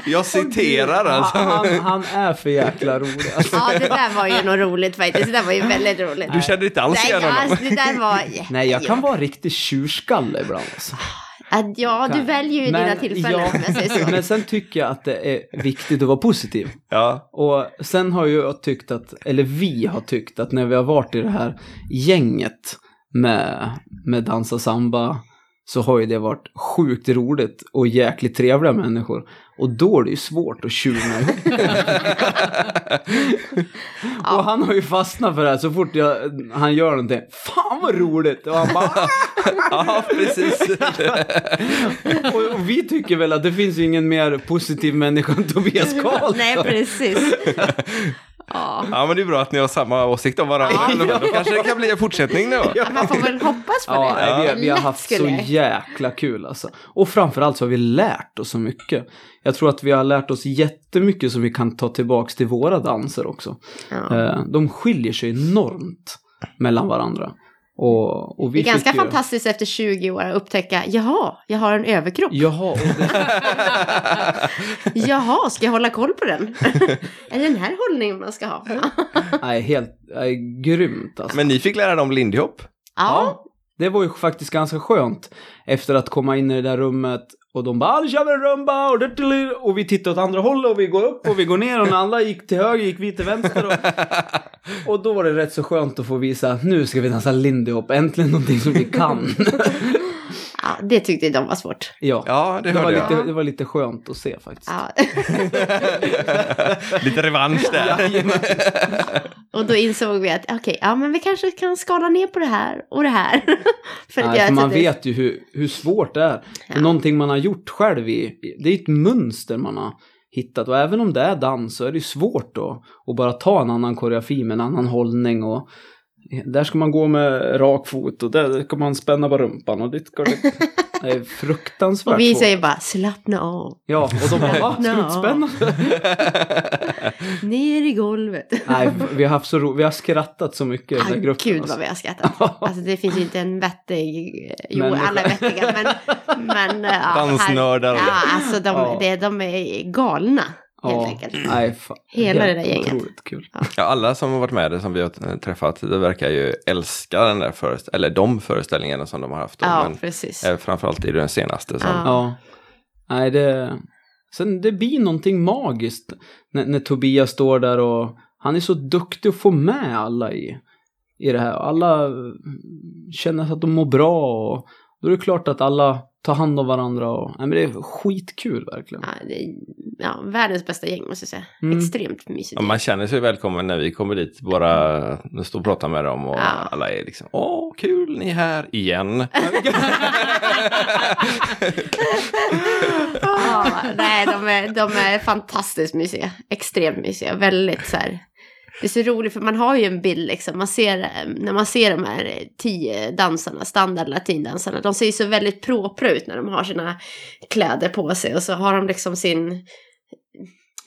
Jag citerar alltså. Han, han, han är för jäkla rolig. Alltså. Ja, det där var ju något roligt faktiskt. Det där var ju väldigt roligt. Du kände inte alls Nej, igen honom. alltså, det där var... Nej, jag kan vara riktig tjurskalle ibland. Alltså. Att, ja, du väljer ju dina tillfällen om jag säger så. men sen tycker jag att det är viktigt att vara positiv. Ja, Och sen har ju jag tyckt att, eller vi har tyckt att när vi har varit i det här gänget med, med dansa samba så har ju det varit sjukt roligt och jäkligt trevliga människor. Och då är det ju svårt att tjuna ihop. Och han har ju fastnat för det här så fort jag, han gör någonting. Fan vad roligt! Och han bara, "Ah!" ja precis. och, och vi tycker väl att det finns ju ingen mer positiv människa än Tobias Karlsson. Nej, precis. Ja. Ja, men det är bra att ni har samma åsikt om varandra. Ja. Då kanske det kan bli en fortsättning då. Man får väl hoppas på Ja, det. nej, vi, vi har Lätt haft så skulle jag. jäkla kul alltså. Och framförallt så har vi lärt oss så mycket. Jag tror att vi har lärt oss jättemycket som vi kan ta tillbaks till våra danser också. Ja. Eh, De skiljer sig enormt mellan varandra. Och, och vi Det är ganska fick ju... fantastiskt efter 20 år att upptäcka, jaha, jag har en överkropp. Jaha, och det, Jaha, ska jag hålla koll på den? är det den här hållningen man ska ha? Ja, nej, helt, nej, grymt alltså. Men ni fick lära dem lindy hop. Ja, det var ju faktiskt ganska skönt efter att komma in i det där rummet och de bara "Ah, nu kör vi en rumba och, duttelu." och vi tittar åt andra hållet och vi går upp och vi går ner och när alla gick till höger gick vi till vänster. Och, och då var det rätt så skönt att få visa att nu ska vi dansa lindy hop, äntligen någonting som vi kan. ja, det tyckte de var svårt. ja, Ja, det det, var hörde jag. lite, det var lite skönt att se faktiskt. Ja. Lite revansch där. Och då insåg vi att okej, ja men vi kanske kan skala ner på det här och det här. för Nej, för så man att det- vet ju hur, hur svårt det är. Ja. Någonting man har gjort själv i, det är ett mönster man har hittat. Och även om det är dans så är det ju svårt då att bara ta en annan koreografi med en annan hållning och där ska man gå med rak fot och där ska man spänna på rumpan och dit går det. Det är fruktansvärt Och vi svårt. säger bara slappna av, Ja, och de bara va? Slutspännande? ner i golvet. Nej, vi har haft så ro- vi har skrattat så mycket i den Ah, här gruppen. Gud alltså. vad vi har skrattat. Alltså det finns ju inte en vettig, jo Människa. alla är vettiga men, men eh, ja, Dansnördar. här- Ja, alltså de, Ja. Det, de är galna helt ja. enkelt. Nej, fan. Hela det där Helt gänget. Otroligt kul. Ja, alla som har varit med det som vi har eh, träffat, det verkar ju älska den där föreställ- eller de föreställningarna som de har haft. Då, Ja, men precis. eh, framförallt är det den senaste. Som, Ja. Ja. Nej, det... Sen det blir någonting magiskt när, när Tobias står där och han är så duktig att få med alla i, i det här. Alla mm, känner att de mår bra och då är det klart att alla tar hand om varandra och nej, men det är skitkul verkligen. Ja, det är, ja, världens bästa gäng måste jag säga. Mm. Extremt mysigt. Ja, man känner sig välkommen när vi kommer dit, bara står och pratar med dem och Ja. alla är liksom åh kul ni är här igen. Ja, nej, de är, de är fantastiskt mysiga. Extremt mysiga. Väldigt så här. Det är så roligt för man har ju en bild liksom. Man ser, eh, när man ser de här eh, tio dansarna, standard latindansarna. De ser ju så väldigt propra ut när de har sina kläder på sig. Och så har de liksom sin,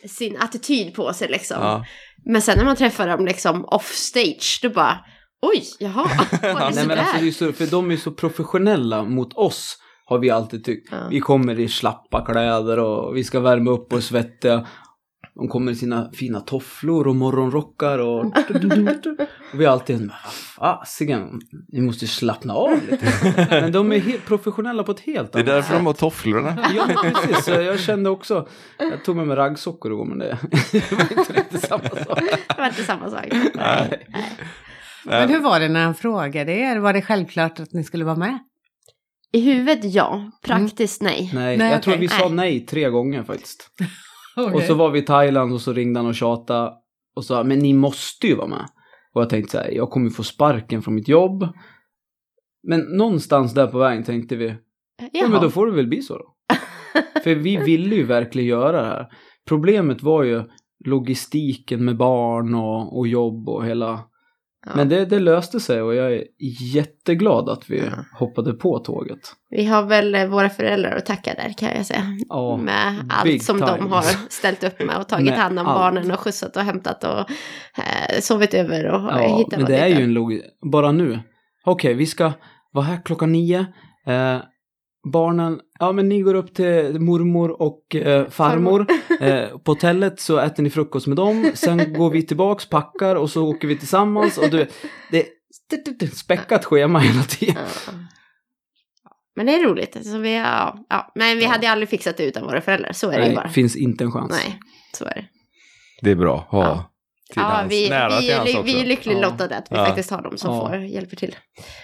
sin attityd på sig liksom. Ja. Men sen när man träffar dem liksom offstage, då bara oj, jaha, var det Nej, men alltså, det är sådär? ju så, för de är ju så professionella mot oss, har vi alltid tyckt. Ja. Vi kommer i slappa kläder och vi ska värma upp och svettiga. De kommer i sina fina tofflor och morgonrockar och... och vi har alltid en fasiken, vi måste ju slappna av lite. Men de är helt professionella på ett helt Det är annat därför de har tofflorna. Ja, men precis. Så Jag kände också, jag tog med mig raggsockor igår men det det var inte riktigt samma sak. Det var inte samma sak. Nej. Men hur var det när han frågade er? Var det självklart att ni skulle vara med? I huvudet ja, praktiskt nej. Nej, Nej, jag tror okej. vi sa Nej. nej tre gånger faktiskt. Och så var vi i Thailand och så ringde han och tjatade och sa men ni måste ju vara med. Och jag tänkte så här, jag kommer ju få sparken från mitt jobb. Men någonstans där på vägen tänkte vi, ja men då får det väl bli så då. För vi ville ju verkligen göra det här. Problemet var ju logistiken med barn och, och jobb och hela. Ja. Men det, det löste sig och jag är jätteglad att vi Ja. hoppade på tåget. Vi har väl eh, våra föräldrar att tacka där kan jag säga. Ja, med big allt som time. de har ställt upp med och tagit Med hand om allt. barnen och skjutsat och hämtat och eh, sovit över och eh, Ja, hittat men det är ju en log... Bara nu. Okej, vi ska var här klockan nio. Eh, barnen, ja men ni går upp till mormor och eh, farmor. Eh, på hotellet så äter ni frukost med dem. Sen går vi tillbaks, packar och så åker vi tillsammans. Och du, vet, det är ett späckat schema hela tiden. Ja. Men det är roligt. Alltså, vi, ja, ja. Men vi hade ju aldrig fixat det utan våra föräldrar, så är det ju Nej, bara. finns inte en chans. Nej, så är det. Det är bra att ha Ja. till Ja, hands. vi, Nära vi, till är, hands ly- också. vi är lyckligt Ja. lottade att vi Ja. faktiskt har dem som Ja. får, hjälper till.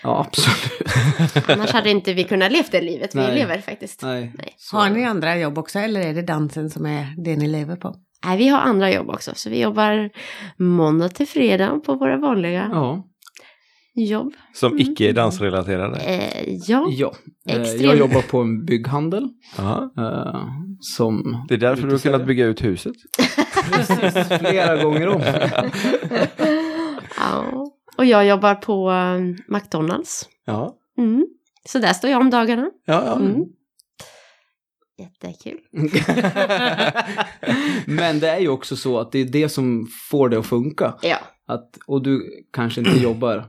Ja, absolut. Annars hade inte vi kunnat leva det livet vi Nej. lever faktiskt. Nej. Nej. så- Har ni andra jobb också eller är det dansen som är det ni lever på? vi har andra jobb också, så vi jobbar måndag till fredag på våra vanliga Ja. jobb. Som icke är dansrelaterade. Eh, ja, Ja, eh, Extremt. jag jobbar på en bygghandel Ja. eh, som Det är därför du har Utesäljer. kunnat bygga ut huset. flera gånger om. ja. Och jag jobbar på eh, McDonalds. Ja, Mm. Så där står jag om dagarna. ja, ja. Mm. Jättekul. Men det är ju också så att det är det som får det att funka. Ja. Att, och du kanske inte jobbar.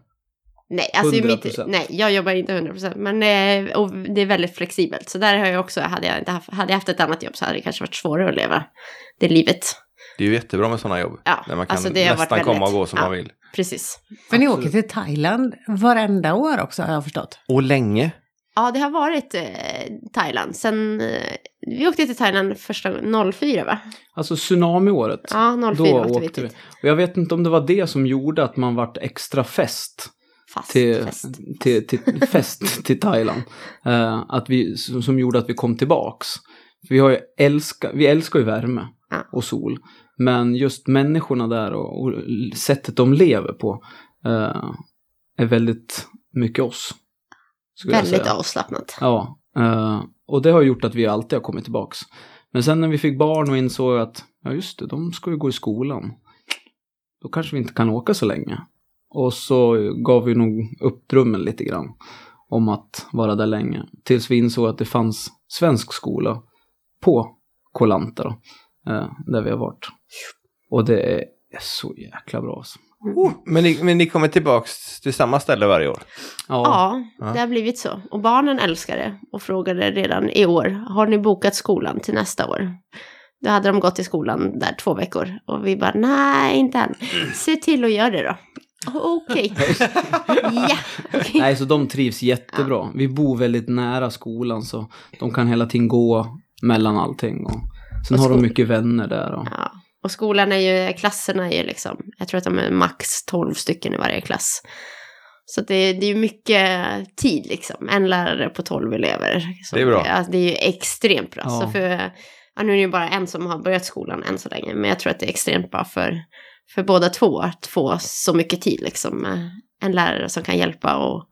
Nej, alltså i mitt, 100%. nej, jag jobbar inte 100%. Men eh, och det är väldigt flexibelt. Så där har jag också, hade jag, inte haft, hade jag haft ett annat jobb så hade det kanske varit svårare att leva det livet. Det är ju jättebra med sådana jobb. Ja, Där man kan alltså det har varit nästan komma och väldigt- gå som ja. man vill. Precis. För ni Absolut. åker till Thailand varenda år också har jag förstått. Och länge. Ja, det har varit eh, Thailand. Sen, eh, vi åkte till Thailand första gången, 04 va? Alltså tsunamiåret. Ja, 04 då åkte vi åkte vi. dit. Och jag vet inte om det var det som gjorde att man vart extra fest. Fast, till, fest. Till, till, fest till Thailand. Eh, att vi, som, som gjorde att vi kom tillbaks. För Vi, har ju älska, vi älskar ju värme Ja. och sol. Men just människorna där och, och sättet de lever på eh, är väldigt mycket oss. skulle jag Väldigt säga. avslappnat. Ja, eh, och det har gjort att vi alltid har kommit tillbaks. Men sen när vi fick barn och insåg att, ja just det, de ska ju gå i skolan. Då kanske vi inte kan åka så länge. Och så gav vi nog upp drömmen lite grann om att vara där länge. Tills vi insåg att det fanns svensk skola på Koh Lanta då, eh, där vi har varit. Och det är så jäkla bra alltså. Oh, men, ni, men ni kommer tillbaks till samma ställe varje år? Ja, Ja. det har blivit så. Och barnen älskar det och frågade redan i år, har ni bokat skolan till nästa år? Då hade de gått i skolan där två veckor och vi bara, nej inte än. Mm. Se till att göra det då. Okej. ja. okej. Nej, så de trivs jättebra. Vi bor väldigt nära skolan så de kan hela tiden gå mellan allting. Och sen Och har de skol- mycket vänner där. Och, Ja. Och skolan är ju, klasserna är ju liksom, jag tror att de är max 12 stycken i varje klass. Så att det, det är ju mycket tid liksom, en lärare på 12 elever. Så Det är bra. Det, alltså, det är ju extremt bra. Ja. Så för, ja, nu är det ju bara en som har börjat skolan än så länge, men jag tror att det är extremt bra för, för båda två att få så mycket tid liksom. med En lärare som kan hjälpa och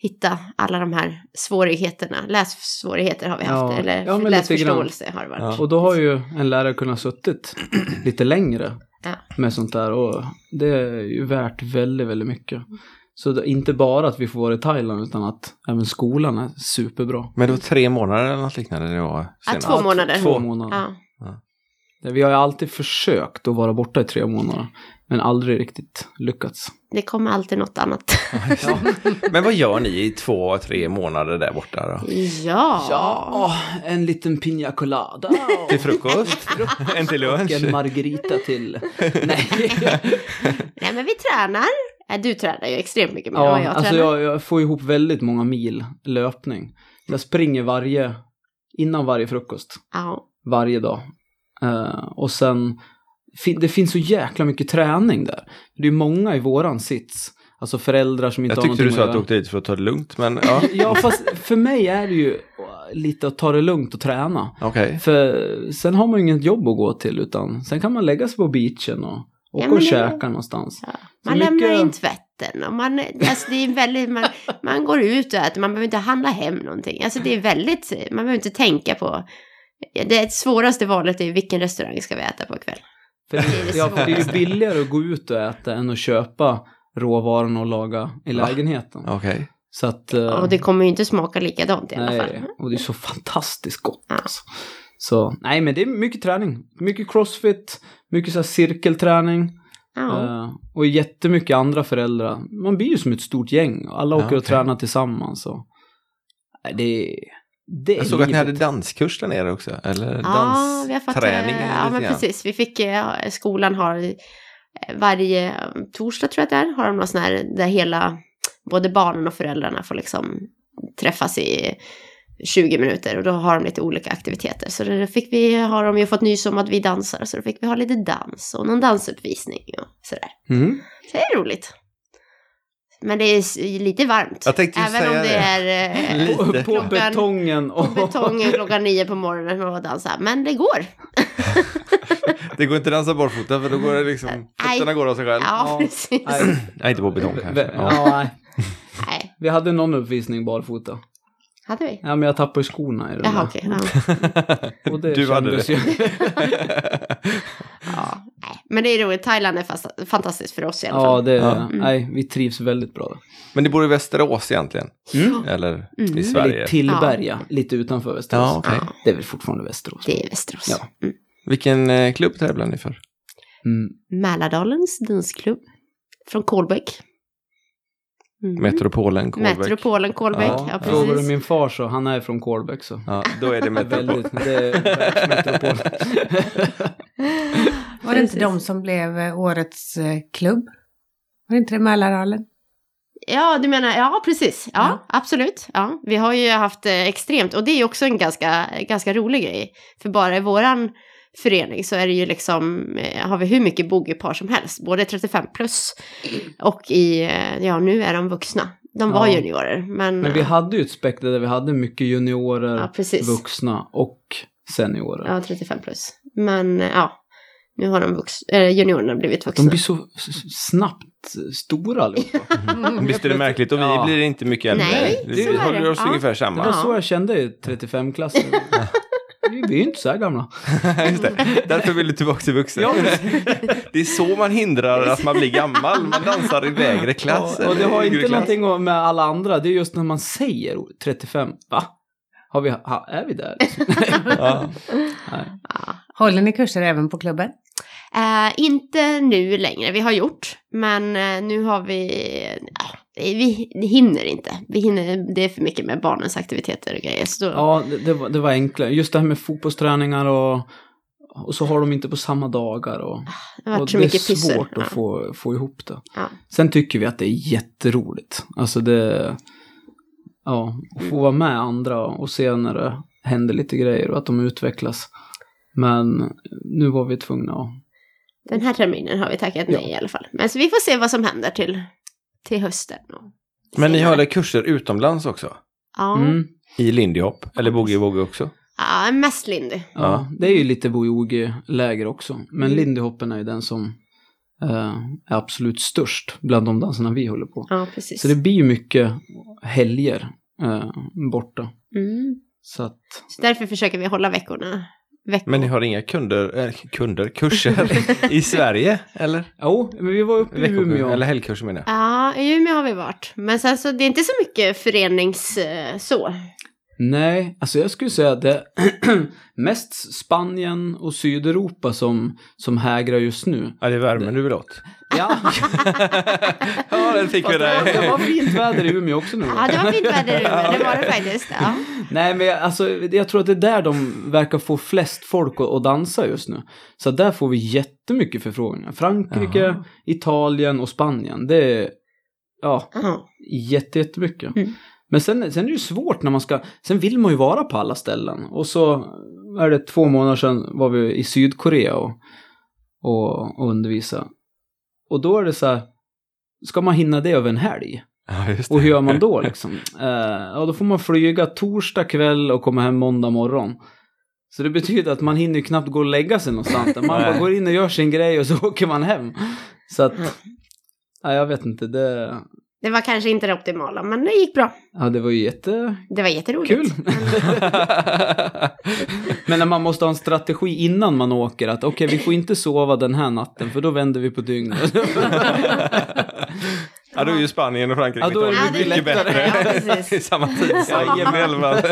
hitta alla de här svårigheterna. Lässvårigheter har vi haft, Ja. eller Ja, men lite läsförståelse har det varit. Ja. och då har ju en lärare kunnat suttit lite längre Ja. med sånt där. Och det är ju värt väldigt, väldigt mycket. Så det, inte bara att vi får vara i Thailand utan att även skolan är superbra. Men det var tre månader eller något liknande det var senast. två månader. Två månader. Ja. Det- Vi har ju alltid försökt att vara borta i tre månader. Men aldrig riktigt lyckats. Det kommer alltid något annat. Men vad gör ni i två, tre månader där borta då? Ja. Ja, en liten piña colada. och- Till frukost? en till Och en lunch? margarita till. Nej. Nej men vi tränar. Äh, Du tränar ju extremt mycket mer än vad ja, jag alltså tränar. jag, jag får ihop väldigt många mil löpning. Jag springer varje, innan varje frukost, Ja. varje dag. Eh, och sen, fin, det finns så jäkla mycket träning där. Det är många i våran sits, alltså föräldrar som inte Jag har tyckte du sa att du göra. åkte dit för att ta det lugnt, men ja. Ja, fast för mig är det ju lite att ta det lugnt och träna. Okej. För sen har man ju inget jobb att gå till utan sen kan man lägga sig på beachen och åka men och det- käka någonstans. Ja. Så Man mycket- lämnar in tvätten och man, alltså det är väldigt, man, man går ut och äter, man behöver inte handla hem någonting. Alltså det är väldigt, man behöver inte tänka på, det svåraste valet är vilken restaurang ska vi äta på ikväll. För det, är det ja, för det är ju svåraste. billigare att gå ut och äta än att köpa råvarorna och laga i Va? lägenheten. Okej. Så att... eh, Och det kommer ju inte smaka likadant i alla fall. nej, och det är så fantastiskt gott Ja. alltså. Så nej men det är mycket träning. Mycket crossfit, mycket så här cirkelträning. Ja. Eh, och jättemycket andra föräldrar. Man blir ju som ett stort gäng. och Alla Ja, åker och okej. tränar tillsammans. Och... Nej, det, det är Jag såg att ni livet. hade danskurs där nere också, eller Ja, vi har fått, dansträning. eh, eller Ja, lite men grann. precis. Vi fick, eh, skolan har eh, varje torsdag tror jag det är, har de någon sån här där hela, både barnen och föräldrarna får liksom träffas i 20 minuter och då har de lite olika aktiviteter. Så då fick vi, har de ju fått nys om att vi dansar, så då fick vi ha lite dans och någon dansuppvisning och sådär. Mm. Så det är roligt. Men det är s- lite varmt. Jag tänkte ju Även säga om det, det. är eh, Lite. På, på Klockan- betongen och... på betongen klockan nio på morgonen och dansa. Men det går. Det går inte att dansa barfota för då går det liksom, Nej. fötterna går av sig själv. Ja, Ja. precis. Nej, Nej, inte på betong kanske. vä- Ja. ja, nej. Nej, Vi hade någon uppvisning barfota. hade vi? Ja, men jag tappade skorna i den Jaha, där. okej. Ja. Och det Du hade kändes det. Ju... Ja, nej. Men det är roligt. Thailand är fast- fantastiskt för oss i alla ja, fall. det, Ja. nej, vi trivs väldigt bra där. Men ni bor i Västerås egentligen? Mm. Eller Mm. i Eller Sverige? i Tillberga, lite utanför Västerås. Ja, okej. Ja, Det är väl fortfarande Västerås. det är Västerås. Ja. Mm. Vilken eh, klubb tävlar ni för? Mm. Mälardalens dansklubb från Kolbäck. Mm. Metropolen Kolbäck? Metropolen Kolbäck, Ja, ja, ja. Frågar du precis. min far så, han är från Kolbäck så. Ja, då är det Metropol. Väldigt, det är världsmetropol. Var det inte Precis. de som blev eh, årets eh, klubb? Var det inte det Mälardalen? Ja, du menar, ja precis. Ja, Ja. absolut. Ja, vi har ju haft eh, extremt, och det är ju också en ganska, ganska rolig grej. För bara i våran förening så är det ju liksom, eh, har vi hur mycket bogeypar som helst, både 35 plus och i, eh, ja nu är de vuxna. De var Ja. juniorer, men, Men vi hade ju ett spektra där vi hade mycket juniorer, ja precis. vuxna och seniorer. Ja, 35 plus. Men eh, ja, nu har de vux- eh, juniorerna blivit vuxna. De blir så s- s- snabbt stora allihopa. Visst är det märkligt? Och vi Ja. blir inte mycket äldre. Nej, vi så är det. håller oss Ja. ungefär Det samma. var Ja. så jag kände i 35-klassen. Vi vi är ju inte så här gamla. Just det. Därför vill du tillbaka till vuxen. Ja. Det är så man hindrar att man blir gammal. Man dansar i lägre klass. och, och det eller har yngre inte klass. någonting att- med alla andra, det är just när man säger "Oh, 35, va? Har vi, ha, är vi där? Ja. Nej. Håller ni kurser även på klubben? Eh, inte nu längre, vi har gjort, men eh, nu har vi, ja, vi hinner inte. Vi hinner, det är för mycket med barnens aktiviteter och grejer. Så då, Ja, det, det, var, det var enklare. Just det här med fotbollsträningar och, och så har de inte på samma dagar. Och, det har och varit så det är mycket pyssel. svårt Ja. att få, få ihop det. Ja. Sen tycker vi att det är jätteroligt. Alltså det... Ja, att få vara med andra och se när det händer lite grejer och att de utvecklas. Men nu var vi tvungna att... Den här terminen har vi tackat nej i alla fall. Men så vi får se vad som händer till, till hösten. och Men ni senare. håller kurser utomlands också? Ja, Mm, I lindy hop? Eller boogie woogie också? ja mest Lindy. ja, det är ju lite boogie-läger också. Men Mm. lindy hoppen är ju den som eh, är absolut störst bland de danserna vi håller på. Ja, precis. Så det blir ju mycket helger eh, borta. Mm. Så att... Så därför försöker vi hålla veckorna. Veckor. Men ni har inga kunder, eh, kunder, kurser i Sverige? Eller? Jo, men vi var uppe i Umeå. Veckokurs, eller helgkurser menar jag. Ja, i Umeå har vi varit. Men sen så, det är inte så mycket förenings eh, så. Nej, alltså jag skulle säga att det är mest Spanien och Sydeuropa som, som hägrar just nu. Ja, det är värmen du vill åt. Ja, Ja, den fick vi det var- det där. var fint väder i Umeå också nu. Ja, det var fint väder i Umeå, det var det faktiskt. Ja. Nej, men jag- alltså, jag tror att det är där de verkar få flest folk att, att dansa just nu. Så där får vi jättemycket förfrågningar. Frankrike, Jaha. Italien och Spanien. Det är, ja, Ja. Jätte, jättemycket. Mm. Men sen, sen är det ju svårt när man ska, sen vill man ju vara på alla ställen. Och så är det två månader sedan var vi i Sydkorea och, och, och undervisa. Och då är det så här, ska man hinna det över en helg? Ja, just det. Och hur gör man då liksom? Eh, ja, då får man flyga torsdag kväll och komma hem måndag morgon. Så det betyder att man hinner ju knappt gå och lägga sig någonstans. Man bara Nej. går in och gör sin grej och så åker man hem. Så att, Mm. ja, jag vet inte, det, Det var kanske inte det optimala, men det gick bra. ja det var ju jätte, Det var jätteroligt. Kul! Men när man måste ha en strategi innan man åker att okej vi får inte sova den här natten för då vänder vi på dygnet. Ja, då är ju Spanien och Frankrike Ja, då är det Italien mycket lättare. Ja, precis. I samma tid. Jajamän. i alla fall.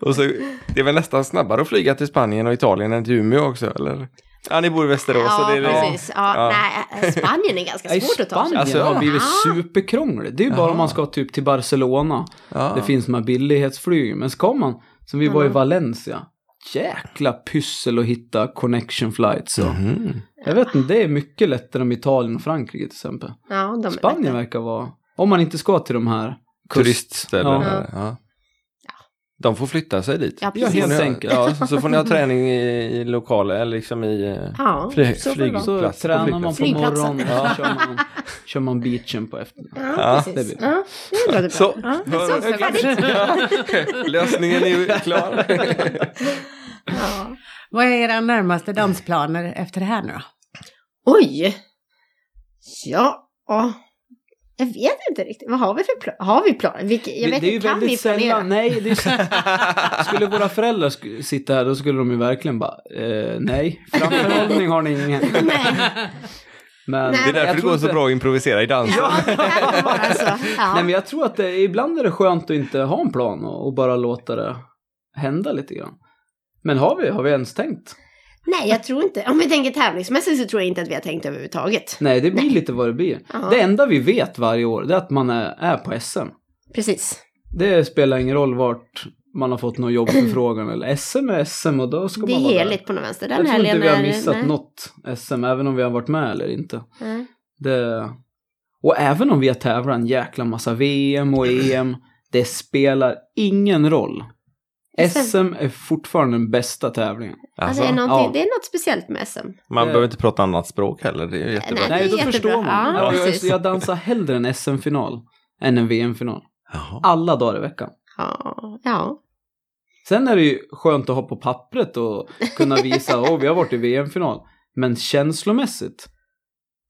och så, det är väl nästan snabbare att flyga till Spanien och Italien än till Umeå också, eller? Ja, ni bor i Västerås. så Ja, det är, liksom- precis. Ja, Ja. eh, Nej, eh, Spanien är ganska Nej, svårt att ta sig Spanien Alltså, ja. har blivit Ah. superkrångligt. Det är ju bara Jaha. om man ska typ till Barcelona. Ja. Det finns de här billighetsflyg. Men ska man, som vi var i Mm. Valencia. Jäkla pyssel att hitta connection flights. och- Mhm. Jag vet inte, det är mycket lättare än Italien och Frankrike till exempel. Ja, de är Spanien lätta. verkar vara, om man inte ska till de här kust- Turistställen. Ja. Ja. De får flytta sig dit. Ja, Ja, precis. helt Får ni ha- enkelt. Ja, så får ni ha träning i, i lokal, eller liksom i eh, Ja, fly, så får det flygplats. Så på tränar man flygplats. på Flygplatsen. morgonen och så kör man, kör man beachen på eftermiddagen. Ja, Ja, det precis. blir bra. Ja, det låter bra. Så. ja, så, Hör- så färdigt. Lösningen är ju klar. Ja. Vad är era närmaste dansplaner efter det här nu då? Oj! Ja, jag vet inte riktigt. Vad har vi för plan? Har vi plan? Vilke, jag vet det är ju inte, kan vi väldigt planera? sällan, nej, det är så- skulle våra föräldrar sk- sitta här då skulle de ju verkligen bara, eh, nej, framförhållning har ni ingen. Nej, Men Det Det är därför jag det tror går så inte- bra att improvisera i dans. ja, det kan vara så. Nej, Ja. men jag tror att det, ibland är det skönt att inte ha en plan och, och bara låta det hända lite grann. Men har vi, har vi ens tänkt? Nej, jag tror inte. Om vi tänker tävlingsmässigt så tror jag inte att vi har tänkt överhuvudtaget. Nej, det blir lite vad det blir. Ja. Det enda vi vet varje år det är att man är, är på SM. Precis. Det spelar ingen roll vart man har fått någon jobbförfrågan eller SM är SM och då ska Det är man vara heligt där. på den vänster. Den Jag tror inte helgen vi har är- missat nej. något SM, även om vi har varit med eller inte. Nej. Det... Och även om vi har tävlat en jäkla massa VM och EM, det spelar ingen roll. SM är fortfarande den bästa tävlingen. Alltså, är Alltså, någonting, ja. det är något speciellt med SM. man behöver inte prata annat språk heller. Det är jättebra. Nej, det Nej, är då jättebra. förstår man. Ja, jag, precis. jag dansar hellre en SM-final än en VM-final. Jaha. Alla dagar i veckan. Ja, ja. Sen är det ju skönt att ha på pappret och kunna visa att vi har varit i VM-final. Men känslomässigt,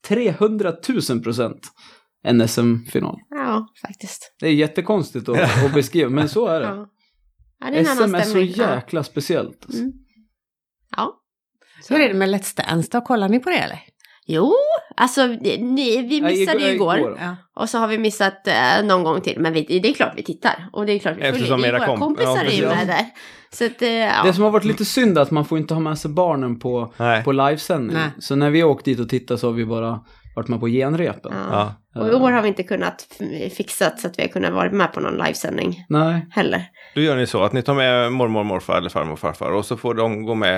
300 000 procent en SM-final. ja faktiskt. Det är jättekonstigt att, att beskriva, men så är det. Ja. Ja, det är en SM annan är så stämning. Ja. jäkla speciellt. alltså. Mm. Ja. Hur är det med Let's Dance då? Kollar ni på det eller? Jo, alltså ni, vi Nej, missade ju igår. igår. Ja. Och så har vi missat eh, någon gång till. Men vi, det är klart vi tittar. Och det är klart vi följer. Eftersom Det är era våra kom- ja, kompisar är precis. ju med där. Så att, eh, Det ja. som har varit lite synd är att man får inte ha med sig barnen på, Nej. på livesändning. Nej. Så när vi har åkt dit och tittat så har vi bara varit med på genrepen. Ja. Ja. Och i år har vi inte kunnat f- fixa så att vi har kunnat vara med på någon livesändning Nej. heller. Då gör ni så att ni tar med mormor, morfar eller farmor och farfar och så får de gå med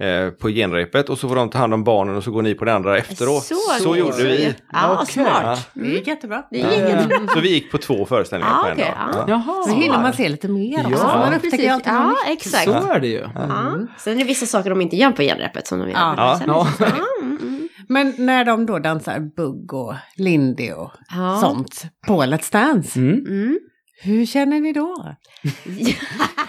eh, på genrepet och så får de ta hand om barnen och så går ni på det andra efteråt. Så, gjorde vi. Ja, Okej. smart. Det gick jättebra. Mm. Det gick jättebra. Så vi gick på två föreställningar Ja, på en okej, dag. ja. Jaha. Så hinner man se lite mer också. Ja, man precis. upptäcker alltid Ja, något nytt. exakt. Så är det ju. Ja. Sen är det vissa saker de inte gör på genrepet som de gör Ja. på livesändning. Ja. Ja, mm, mm. Men när de då dansar bugg och lindy och Ja. sånt på Let's Dance, Mm. Mm. hur känner ni då? Nej, Vi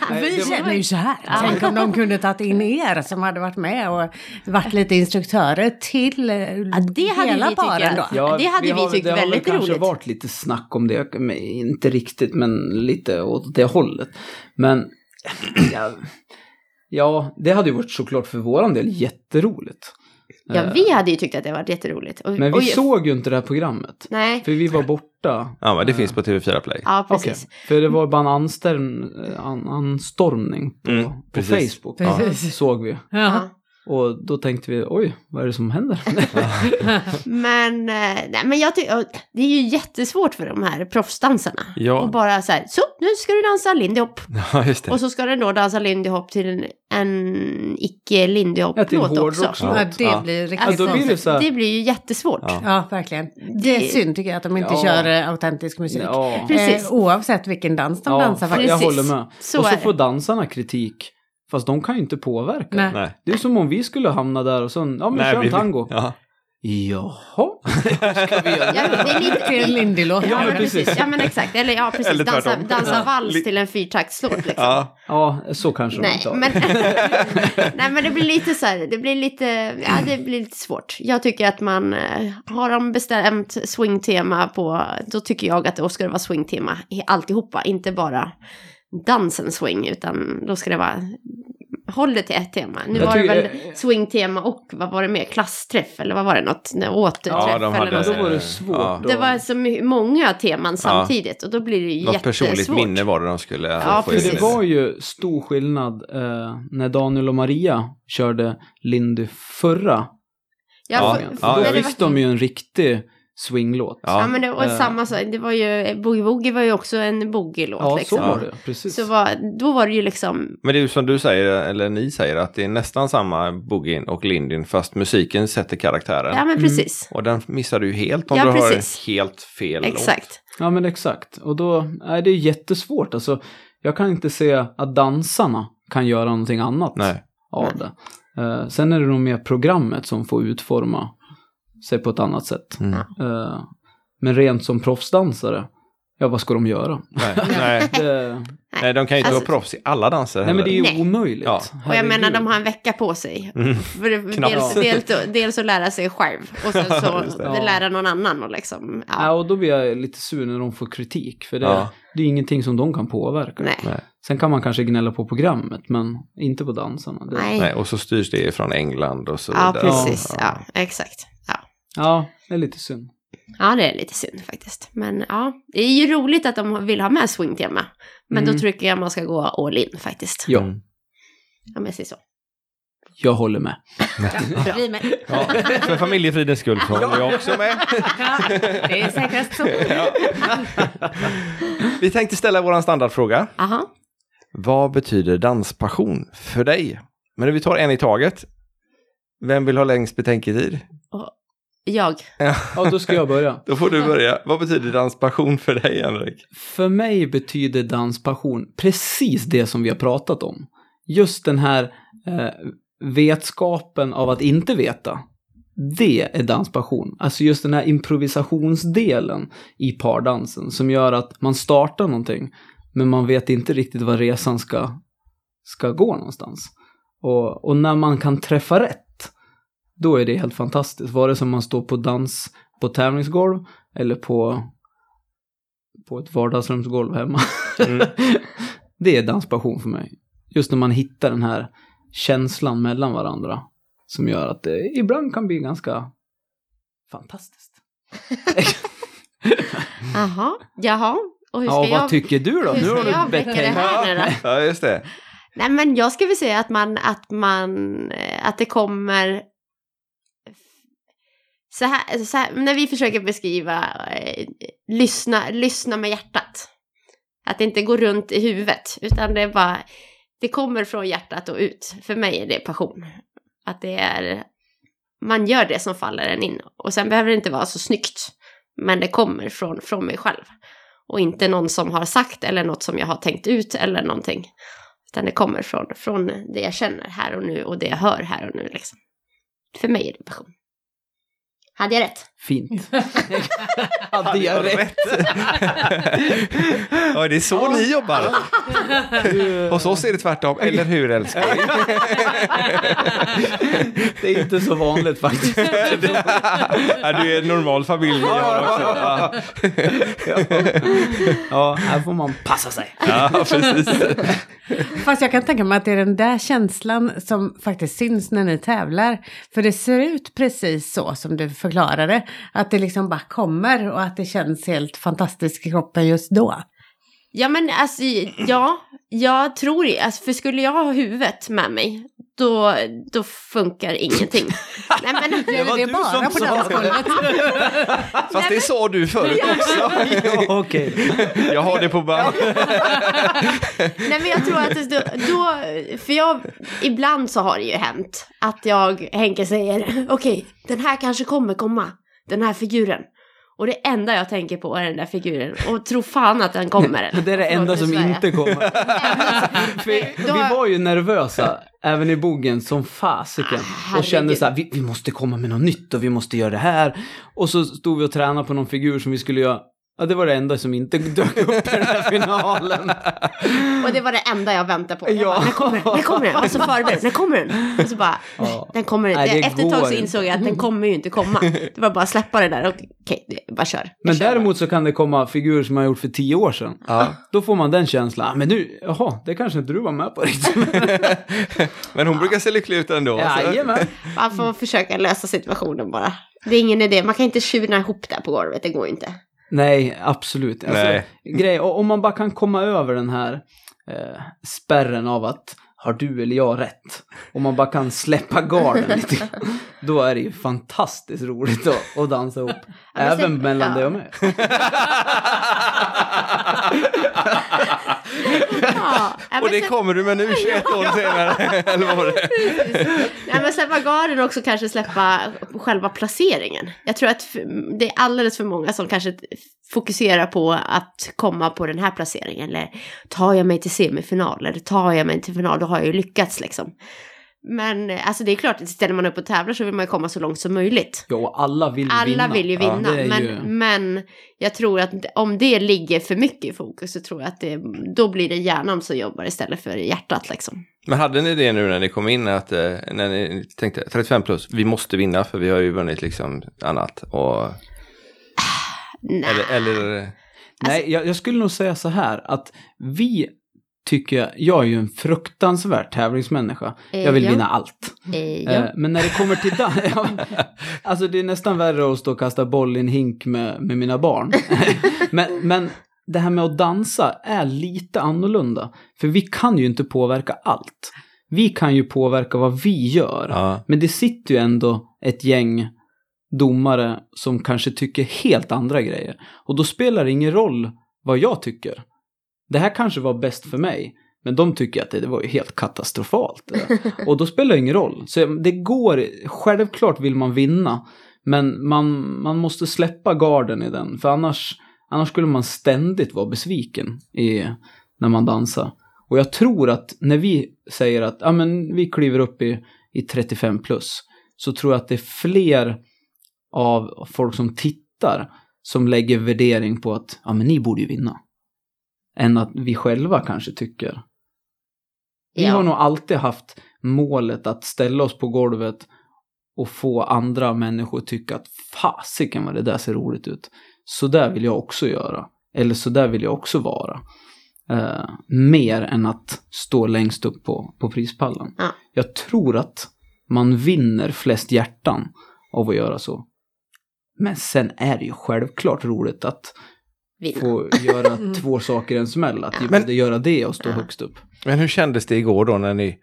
det var- känner ju så här. Tänk om de kunde tagit in er som hade varit med och varit lite instruktörer till eh, Ja, det hade hela vi paren tyckt då. att- Det hade vi tyckt det väldigt har väl kanske roligt. varit lite snack om det, men inte riktigt, men lite åt det hållet. Men ja, ja, det hade ju varit såklart för våran del jätteroligt. Ja, vi hade ju tyckt att det varit jätteroligt. Och, Men vi och, såg ju inte det här programmet, Nej, för vi var borta. Ja, men det finns på TV4 Play. ja precis. Okej, För det var bara en anstärm, an, anstormning på, Mm, på precis. Facebook, Precis. såg vi. Ja. Ja. Och då tänkte vi, oj, vad är det som händer? Men, eh, nej, men jag tycker, det är ju jättesvårt för de här proffsdansarna. Ja. Och bara så här, så nu ska du dansa lindy hop. Ja, just det. Och så ska den då dansa lindy hop till en, en icke lindy Ja, till en hop-låt också. hårdrockslåt. Ja, Ja. det blir riktigt Alltså, då blir det så här- det blir ju jättesvårt. Ja. Ja, verkligen. Det är synd tycker jag att de inte Ja. kör eh, autentisk musik. Ja. Precis. Eh, oavsett vilken dans de dansar fa- faktiskt. Jag Precis. håller med. Så och så är det. får dansarna kritik. Fast de kan ju inte påverka. Nej. Nej. Det är som om vi skulle hamna där och sen, ja men Nej, kör en vi- tango. Ja. Jaha. Ja, det är lite, Till en Lindy-låt. ja, men precis. precis. Ja, men exakt. Eller ja, precis. Eller dansa, tvärtom. dansa Ja. vals Li- till en fyrtaktslåt liksom. Ja. Ja, så kanske de Nej inte har. men, nej men det blir lite så här, det blir lite, ja det blir lite svårt. Jag tycker att man, eh, har de bestämt swingtema på, då tycker jag att då ska det vara swingtema i alltihopa, inte bara dansen swing, utan då ska det vara Håll det till ett tema. Nu Jag var det tycker- väl swingtema och vad var det mer? Klassträff eller vad var det? Något nej, återträff Ja, de hade- eller något Då sånt. var det svårt. Ja. att- Det var så my- många teman samtidigt och då blir det ju Något personligt jättesvårt. minne var det de skulle Ja, få För in. precis. det var ju stor skillnad eh, när Daniel och Maria körde Lindy förra Ja, för- gången. ja, Alltså, då men det fick de var- ju en riktig swinglåt. Ja. Ja, men det var eh, samma sak. Det var ju, Boogie Woogie var ju också en boogie-låt Ja, liksom. så var det. Precis. Så var, då var det ju liksom, Men det är ju som du säger, eller ni säger, att det är nästan samma Boogin och Lindin fast musiken sätter karaktären. ja men Mm. precis. Och den missar du ju helt om Ja, du precis. har helt fel Exakt. Ja, men exakt. Och då är det är jättesvårt. Alltså, jag kan inte se att dansarna kan göra någonting annat låt. Nej. av det. Eh, sen är det nog mer programmet som får utforma sig på ett annat sätt. Mm. Eh, men rent som proffsdansare, ja vad ska de göra? Nej. Nej. Det, Nej, de kan ju inte Alltså- vara proffs i alla danser nej men det är ju Nej. omöjligt. Ja. Och jag menar, Herregud. de har en vecka på sig. Mm. För det- dels, Knappt. dels, dels att lära sig själv och sen Just så det. Ja. lära någon annan och liksom, ja, Ja, och då blir jag lite sur när de får kritik, för det, Ja. det är ingenting som de kan påverka. nej. Sen kan man kanske gnälla på programmet, men inte på dansarna. Det, nej. Nej, och så styrs det från England och så Ja, vidare. precis. Ja, exakt. Ja. Ja, det är lite synd. ja, det är lite synd faktiskt. Men ja, det är ju roligt att de vill ha med swingtema. Men då Mm. tycker jag man ska gå all in faktiskt. Ja, Mm. Ja, men jag säger så. jag håller med. Ja. Vi med. Ja, för familjefridens skull så håller jag också med. Det är säkrast så. Ja. Vi tänkte ställa vår standardfråga. Aha. Vad betyder danspassion för dig? Men vi tar en i taget. Vem vill ha längst betänketid? Jag. Ja, då ska jag börja. Då får du börja. Vad betyder danspassion för dig, Henrik? För mig betyder danspassion precis det som vi har pratat om. Just den här eh, vetskapen av att inte veta. Det är danspassion. Alltså just den här improvisationsdelen i pardansen som gör att man startar någonting men man vet inte riktigt var resan ska, ska gå någonstans. Och, och när man kan träffa rätt, då är det helt fantastiskt. Vare sig man står på dans på tävlingsgolv eller på på ett vardagsrumsgolv hemma. Mm. det är danspassion för mig. Just när man hittar den här känslan mellan varandra som gör att det ibland kan bli ganska fantastiskt. Aha. Jaha. Och hur ska Ja, vad jag... tycker du hur då? Nu ska har jag du väcka det betänkt. här nu då? Ja, just det. Nej men jag skulle vilja säga att man, att man, eh, att det kommer så här, så här när vi försöker beskriva eh, lyssna, lyssna med hjärtat. Att det inte går runt i huvudet utan det är bara, det kommer från hjärtat och ut. För mig är det passion. Att det är, man gör det som faller en in. Och sen behöver det inte vara så snyggt. Men det kommer från, från mig själv. Och inte någon som har sagt eller något som jag har tänkt ut eller någonting. Utan det kommer från, från det jag känner här och nu och det jag hör här och nu. Liksom. För mig är det passion. Hade jag rätt? Fint. Hade jag rätt? ja, det är så ni jobbar. Hos oss är det tvärtom, eller hur älskling? Det är inte så vanligt faktiskt. ja, du är en normal familj vi har också. Ja, Ja, här får man passa sig. ja precis. Fast jag kan tänka mig att det är den där känslan som faktiskt syns när ni tävlar. För det ser ut precis så som du förklarade. Att det liksom bara kommer och att det känns helt fantastiskt i kroppen just då. Ja men alltså, ja, jag tror det. Alltså, för skulle jag ha huvudet med mig, då, då funkar ingenting. Nej men, Det var är du bara som på sa dansgolvet. Fast det sa du förut också. Ja, okej. Jag har det på band. nej men jag tror att det, då, då, för jag, ibland så har det ju hänt att jag, Henke säger, okej, den här kanske kommer komma, den här figuren. Och det enda jag tänker på är den där figuren och tror fan att den kommer. Det är det enda Förlåt, nu som svär jag. inte kommer. Nej, För då- vi var ju nervösa, även i bogen, som fasiken. Ah, Och kände herregud. så här, vi, vi måste komma med något nytt och vi måste göra det här. Och så stod vi och tränade på någon figur som vi skulle göra Ja, det var det enda som inte dök upp i den här finalen. Och det var det enda jag väntade på. Jag Ja. bara, när kommer den? När kommer den? Jag var så förberedd. När kommer den? Och så bara, Ja. den kommer inte. Nej, det Efter ett tag så går insåg jag att den kommer ju inte komma. Det var bara att släppa det där. och Okej, det- bara kör. Jag Men kör däremot så kan det komma figurer som man har gjort för tio år sedan. Ja. Då får man den känslan, ah, men nu, jaha, det kanske inte du var med på riktigt. Men hon brukar se lycklig ut ändå. så- Jajamän. bara. Man får försöka lösa situationen bara. Det är ingen idé. Man kan inte tjurna ihop där på golvet. Det går ju inte. Nej, absolut. Alltså, Nej. Grej, och om man bara kan komma över den här eh, spärren av att har du eller jag rätt? Om man bara kan släppa garden lite grann, Då är det ju fantastiskt roligt att, att dansa ihop. men sen- Även mellan ja. dig och mig. Ja, men Och det sen- kommer du med nu 21 år senare. Eller vad var det? Nej, men släppa garden och också kanske släppa själva placeringen. Jag tror att f- det är alldeles för många som kanske t- fokuserar på att komma på den här placeringen. Eller tar jag mig till semifinal eller tar jag mig till final då har jag ju lyckats liksom. Men eh, alltså det är klart, ställer man upp och tävlar så vill man ju komma så långt som möjligt. Ja, och alla vill vinna. Alla vill ju Ja, vinna, det är men, ju- men jag tror att om det ligger för mycket i fokus så tror jag att det, då blir det hjärnan som jobbar istället för hjärtat liksom. Men hade ni det nu när ni kom in, att, eh, när ni tänkte 35 plus, vi måste vinna för vi har ju vunnit liksom annat? Och, Nej. eller, eller, alltså- Nej, jag, jag skulle nog säga så här att vi tycker, jag, jag är ju en fruktansvärd tävlingsmänniska. Eh, Jag vill ja. vinna allt. Eh, ja. Eh, Men när det kommer till dans, ja, alltså det är nästan värre att stå och kasta boll i en hink med, med mina barn. men, men det här med att dansa är lite annorlunda. För vi kan ju inte påverka allt. Vi kan ju påverka vad vi gör. ja. Men det sitter ju ändå ett gäng domare som kanske tycker helt andra grejer. Och då spelar det ingen roll vad jag tycker. Det här kanske var bäst för mig. Men de tycker att det, det var ju helt katastrofalt. det där. Och då spelar det ingen roll. Så det går, självklart vill man vinna. Men man, man måste släppa garden i den. För annars, annars skulle man ständigt vara besviken i, när man dansar. Och jag tror att när vi säger att ja, men vi kliver upp i, i 35 plus så tror jag att det är fler av folk som tittar som lägger värdering på att ja, men ni borde ju vinna. Än att vi själva kanske tycker. Vi Ja. har nog alltid haft målet att ställa oss på golvet och få andra människor tycka att fasiken vad det där ser roligt ut. Så där vill jag också göra. Eller så där vill jag också vara. Eh, mer än att stå längst upp på, på prispallen. Ja. Jag tror att man vinner flest hjärtan av att göra så. Men sen är det ju självklart roligt att Vinna. få göra två saker i en smäll. Att ju Men- både göra det och stå Ja. högst upp. Men hur kändes det igår då när ni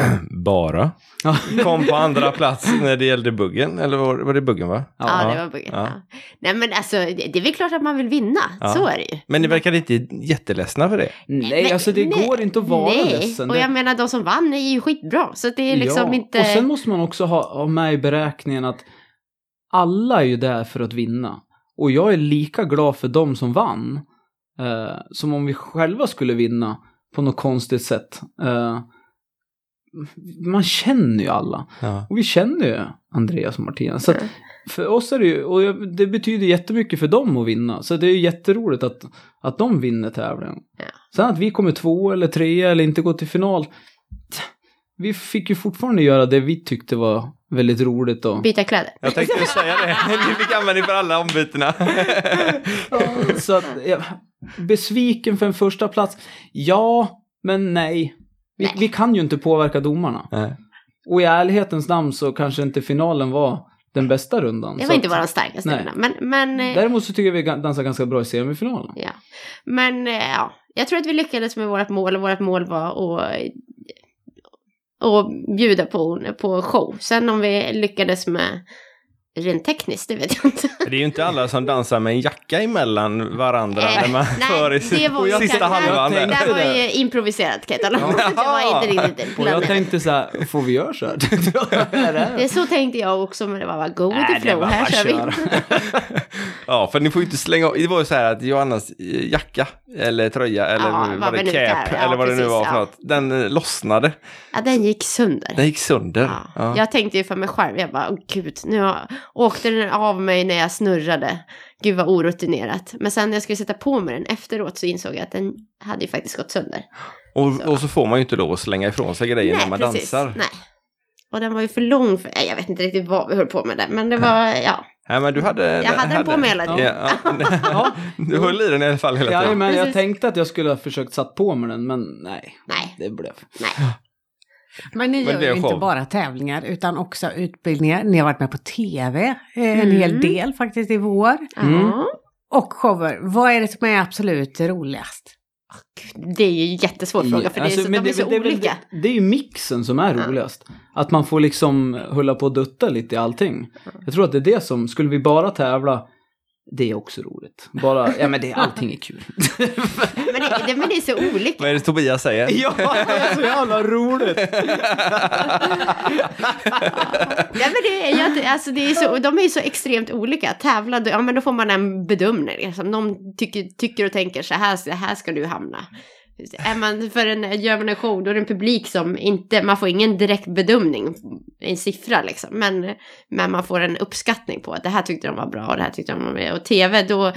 bara Ja. kom på andra plats när det gällde buggen? Eller var, var det buggen va? Ja, Ja, det var buggen. ja. Ja. Nej, men alltså, det, det är väl klart att man vill vinna. Ja. Så är det ju. Men ni verkade inte jätteledsna för det. Nej, Men- alltså det nej, går inte att vara nej. ledsen. Och Det- jag menar, de som vann är ju skitbra. Så det är liksom inte... Och sen måste man också ha, ha med i beräkningen att alla är ju där för att vinna. Och jag är lika glad för dem som vann eh, som om vi själva skulle vinna på något konstigt sätt. Eh, man känner ju alla. Ja. Och vi känner ju Andreas och Martina. Så Mm. att för oss är det ju, och jag- det betyder jättemycket för dem att vinna. Så det är ju jätteroligt att, att de vinner tävlingen. Ja. Sen att vi kommer två eller tre eller inte går till final. tja, Vi fick ju fortfarande göra det vi tyckte var väldigt roligt. Och, Byta kläder. Jag tänkte ju säga det. Ni fick användning för alla ombytena. så att, ja, besviken för en första plats. Ja, men nej. Vi, Nej. vi kan ju inte påverka domarna. Nej. Och i ärlighetens namn så kanske inte finalen var den bästa rundan. Det Så var inte att- vår starkaste nej. runda. Men, men, eh, Däremot så tycker jag vi ga- dansar ganska bra i semifinalen. ja. men eh, ja. jag tror att vi lyckades med vårt mål. Och vårt mål var att, eh, att bjuda på, på show. Sen om vi lyckades med rent tekniskt, det vet jag inte. Det är ju inte alla som dansar med en jacka emellan varandra Eh, när man nej, för i det var ju sista kanske- halvan. Jag där. tänkte- Det var det. ju improviserat kan jag tala om. Det var inte riktigt Och jag planerat. tänkte så här, får vi göra så här? Det är så tänkte jag också, men det var bara go with the Nej, det flow, var här bara kör vi. köra. Ja, för ni får ju inte slänga Det var ju så här att Johannas eh, jacka eller tröja eller Ja, nu, vad var vi det nu cap där, ja, eller vad det nu precis, var för ja. något. Den eh, lossnade. Ja, den gick sönder. Den gick sönder. Ja. Ja. Jag tänkte ju för mig själv, jag bara, åh gud, nu har- åkte den av mig när jag snurrade. Gud vad orutinerat. Men sen när jag skulle sätta på mig den efteråt så insåg jag att den hade ju faktiskt gått sönder. Och, och så får man ju inte lov att slänga ifrån sig grejer när man dansar. Nej. Och den var ju för lång, för, nej, jag vet inte riktigt vad vi höll på med där, men det var, ja. Nej, men du hade... Jag hade den på mig hela tiden. Ja. Ja. Du höll i den i alla fall hela Ja, tiden. men jag Precis. tänkte att jag skulle ha försökt satt på mig den, men nej, Nej, det blev. nej. Men ni Men gör det är ju en inte show. bara tävlingar utan också utbildningar. Ni har varit med på tv eh, en Mm. hel del faktiskt i vår. Ja. Mm. Och shower. Vad är det som är absolut roligast? Gud, Det är ju en jättesvår fråga, för det är Alltså, så, men de är så det, väl- olika. Det, det är ju mixen som är Ja. roligast. Att man får liksom hålla på och dutta lite i allting. Jag tror att det är det som, skulle vi bara tävla, det är också roligt. Bara, ja men det, allting är kul. Men det, det, men det är så olika. Vad är det Tobias säger? ja, det är så jävla roligt. Ja, men det, är- jag, alltså det är så, och de är ju så extremt olika. Tävla, då- ja men då får man en bedömning. Liksom. Någon tycker, tycker och tänker så här, så här ska du hamna. Är man för en, gör man en show då är det en publik som inte, man får ingen direkt bedömning, en siffra liksom. Men, men man får en uppskattning på att det här tyckte de var bra och det här tyckte de var bra. Och tv då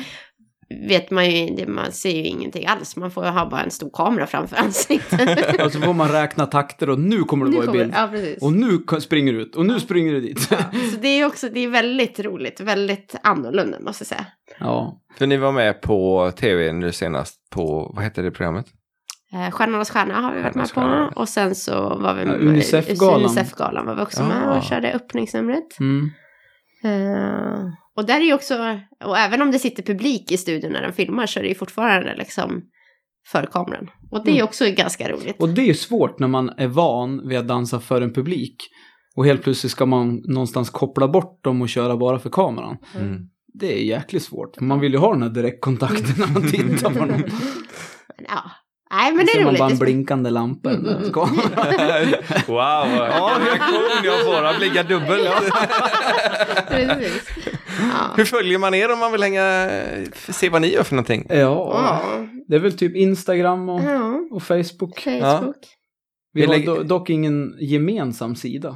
vet man ju, det- man ser ju ingenting alls. Man får ha bara en stor kamera framför ansiktet. Och så får man räkna takter och nu kommer det Nu vara i kommer- bild. ja, precis. Och nu ko- springer du ut och nu springer du dit. Så det är också, det är väldigt roligt, väldigt annorlunda måste jag säga. Ja, För ni var med på tv nu senast på, vad hette det programmet? Eh, Stjärnornas stjärna har vi varit med Stjärnornas på. stjärna. Och sen så var vi Ja, Unicef-galan. Unicef-galan var vi också med Ah. och körde öppningsnumret. mm. Eh, och där är ju också, och även om det sitter publik i studion när den filmar så är det ju fortfarande liksom för kameran. Och det Mm. är ju också ganska roligt. och det är ju svårt när man är van vid att dansa för en publik. Och helt plötsligt ska man någonstans koppla bort dem och köra bara för kameran. Mm. Det är jäkligt svårt. Man vill ju ha den här direktkontakten när man tittar på någon. Ja. Nej men det Ser är man roligt. bara en blinkande lampa i den där kameran. Wow, ja, reaktion jag får, jag blingar dubbel. Precis. Ja. Hur följer man er om man vill hänga, se vad ni gör för någonting? Ja, Ja. det är väl typ Instagram och, Ja. och Facebook. Facebook. Vi Vi har lägger- do- dock ingen gemensam sida.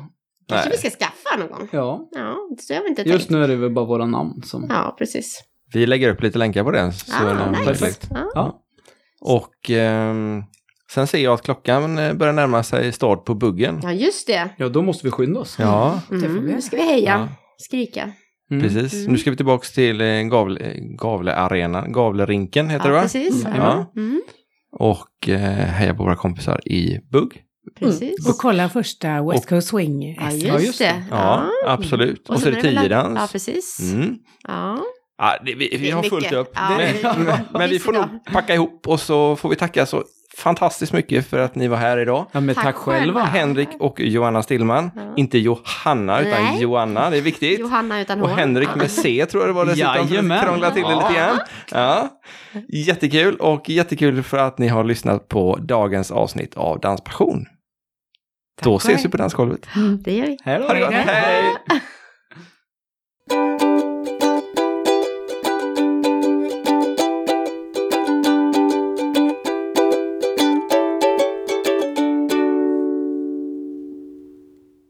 Kanske vi Nej. ska skaffa någon gång. Ja, Ja, det har vi inte just tänkt. nu är det väl bara våra namn som... Ja, precis. Vi lägger upp lite länkar på den. Så Ah, är det nice. Ah. möjligt. Perfekt. Ja. Ja. Och ehm, sen ser jag att klockan eh, börjar närma sig start på buggen. Ja, just det. ja, då måste vi skynda oss. Ja, Det får Mm. vi. Nu ska vi heja, Ja. skrika. Mm. precis. Mm. Nu ska vi tillbaka till eh, Gavle, eh, Gavlearenan, Gavlerinken heter ja, det va? precis. Mm. Ja. Ja. Mm. Och eh, heja på våra kompisar i bugg. Precis. Mm. Och kolla första West Och- Coast Swing. Ja, just, Ja, just det. det. Ja, absolut. Och så är det sen väl- Ja, tiodans. precis. Mm. Ja. Ja, det, vi, vi är har mycket. fullt upp. Ja, det är- men, men vi Visst får idag. nog packa ihop och så får vi tacka så fantastiskt mycket för att ni var här idag. Ja, men tack, Tack själva. själva. Henrik och Johanna Stillman. Ja. Inte Johanna utan Nej. Joanna, det är viktigt. Johanna utan Och hår. Henrik med C tror jag det var dessutom. för att Jajamän. Krångla till det lite grann. Ja. Jättekul och jättekul för att ni har lyssnat på dagens avsnitt av Danspassion. Då och ses hej. vi på dansgolvet. Ja, det gör vi. Hej då. Ha det gott, hej!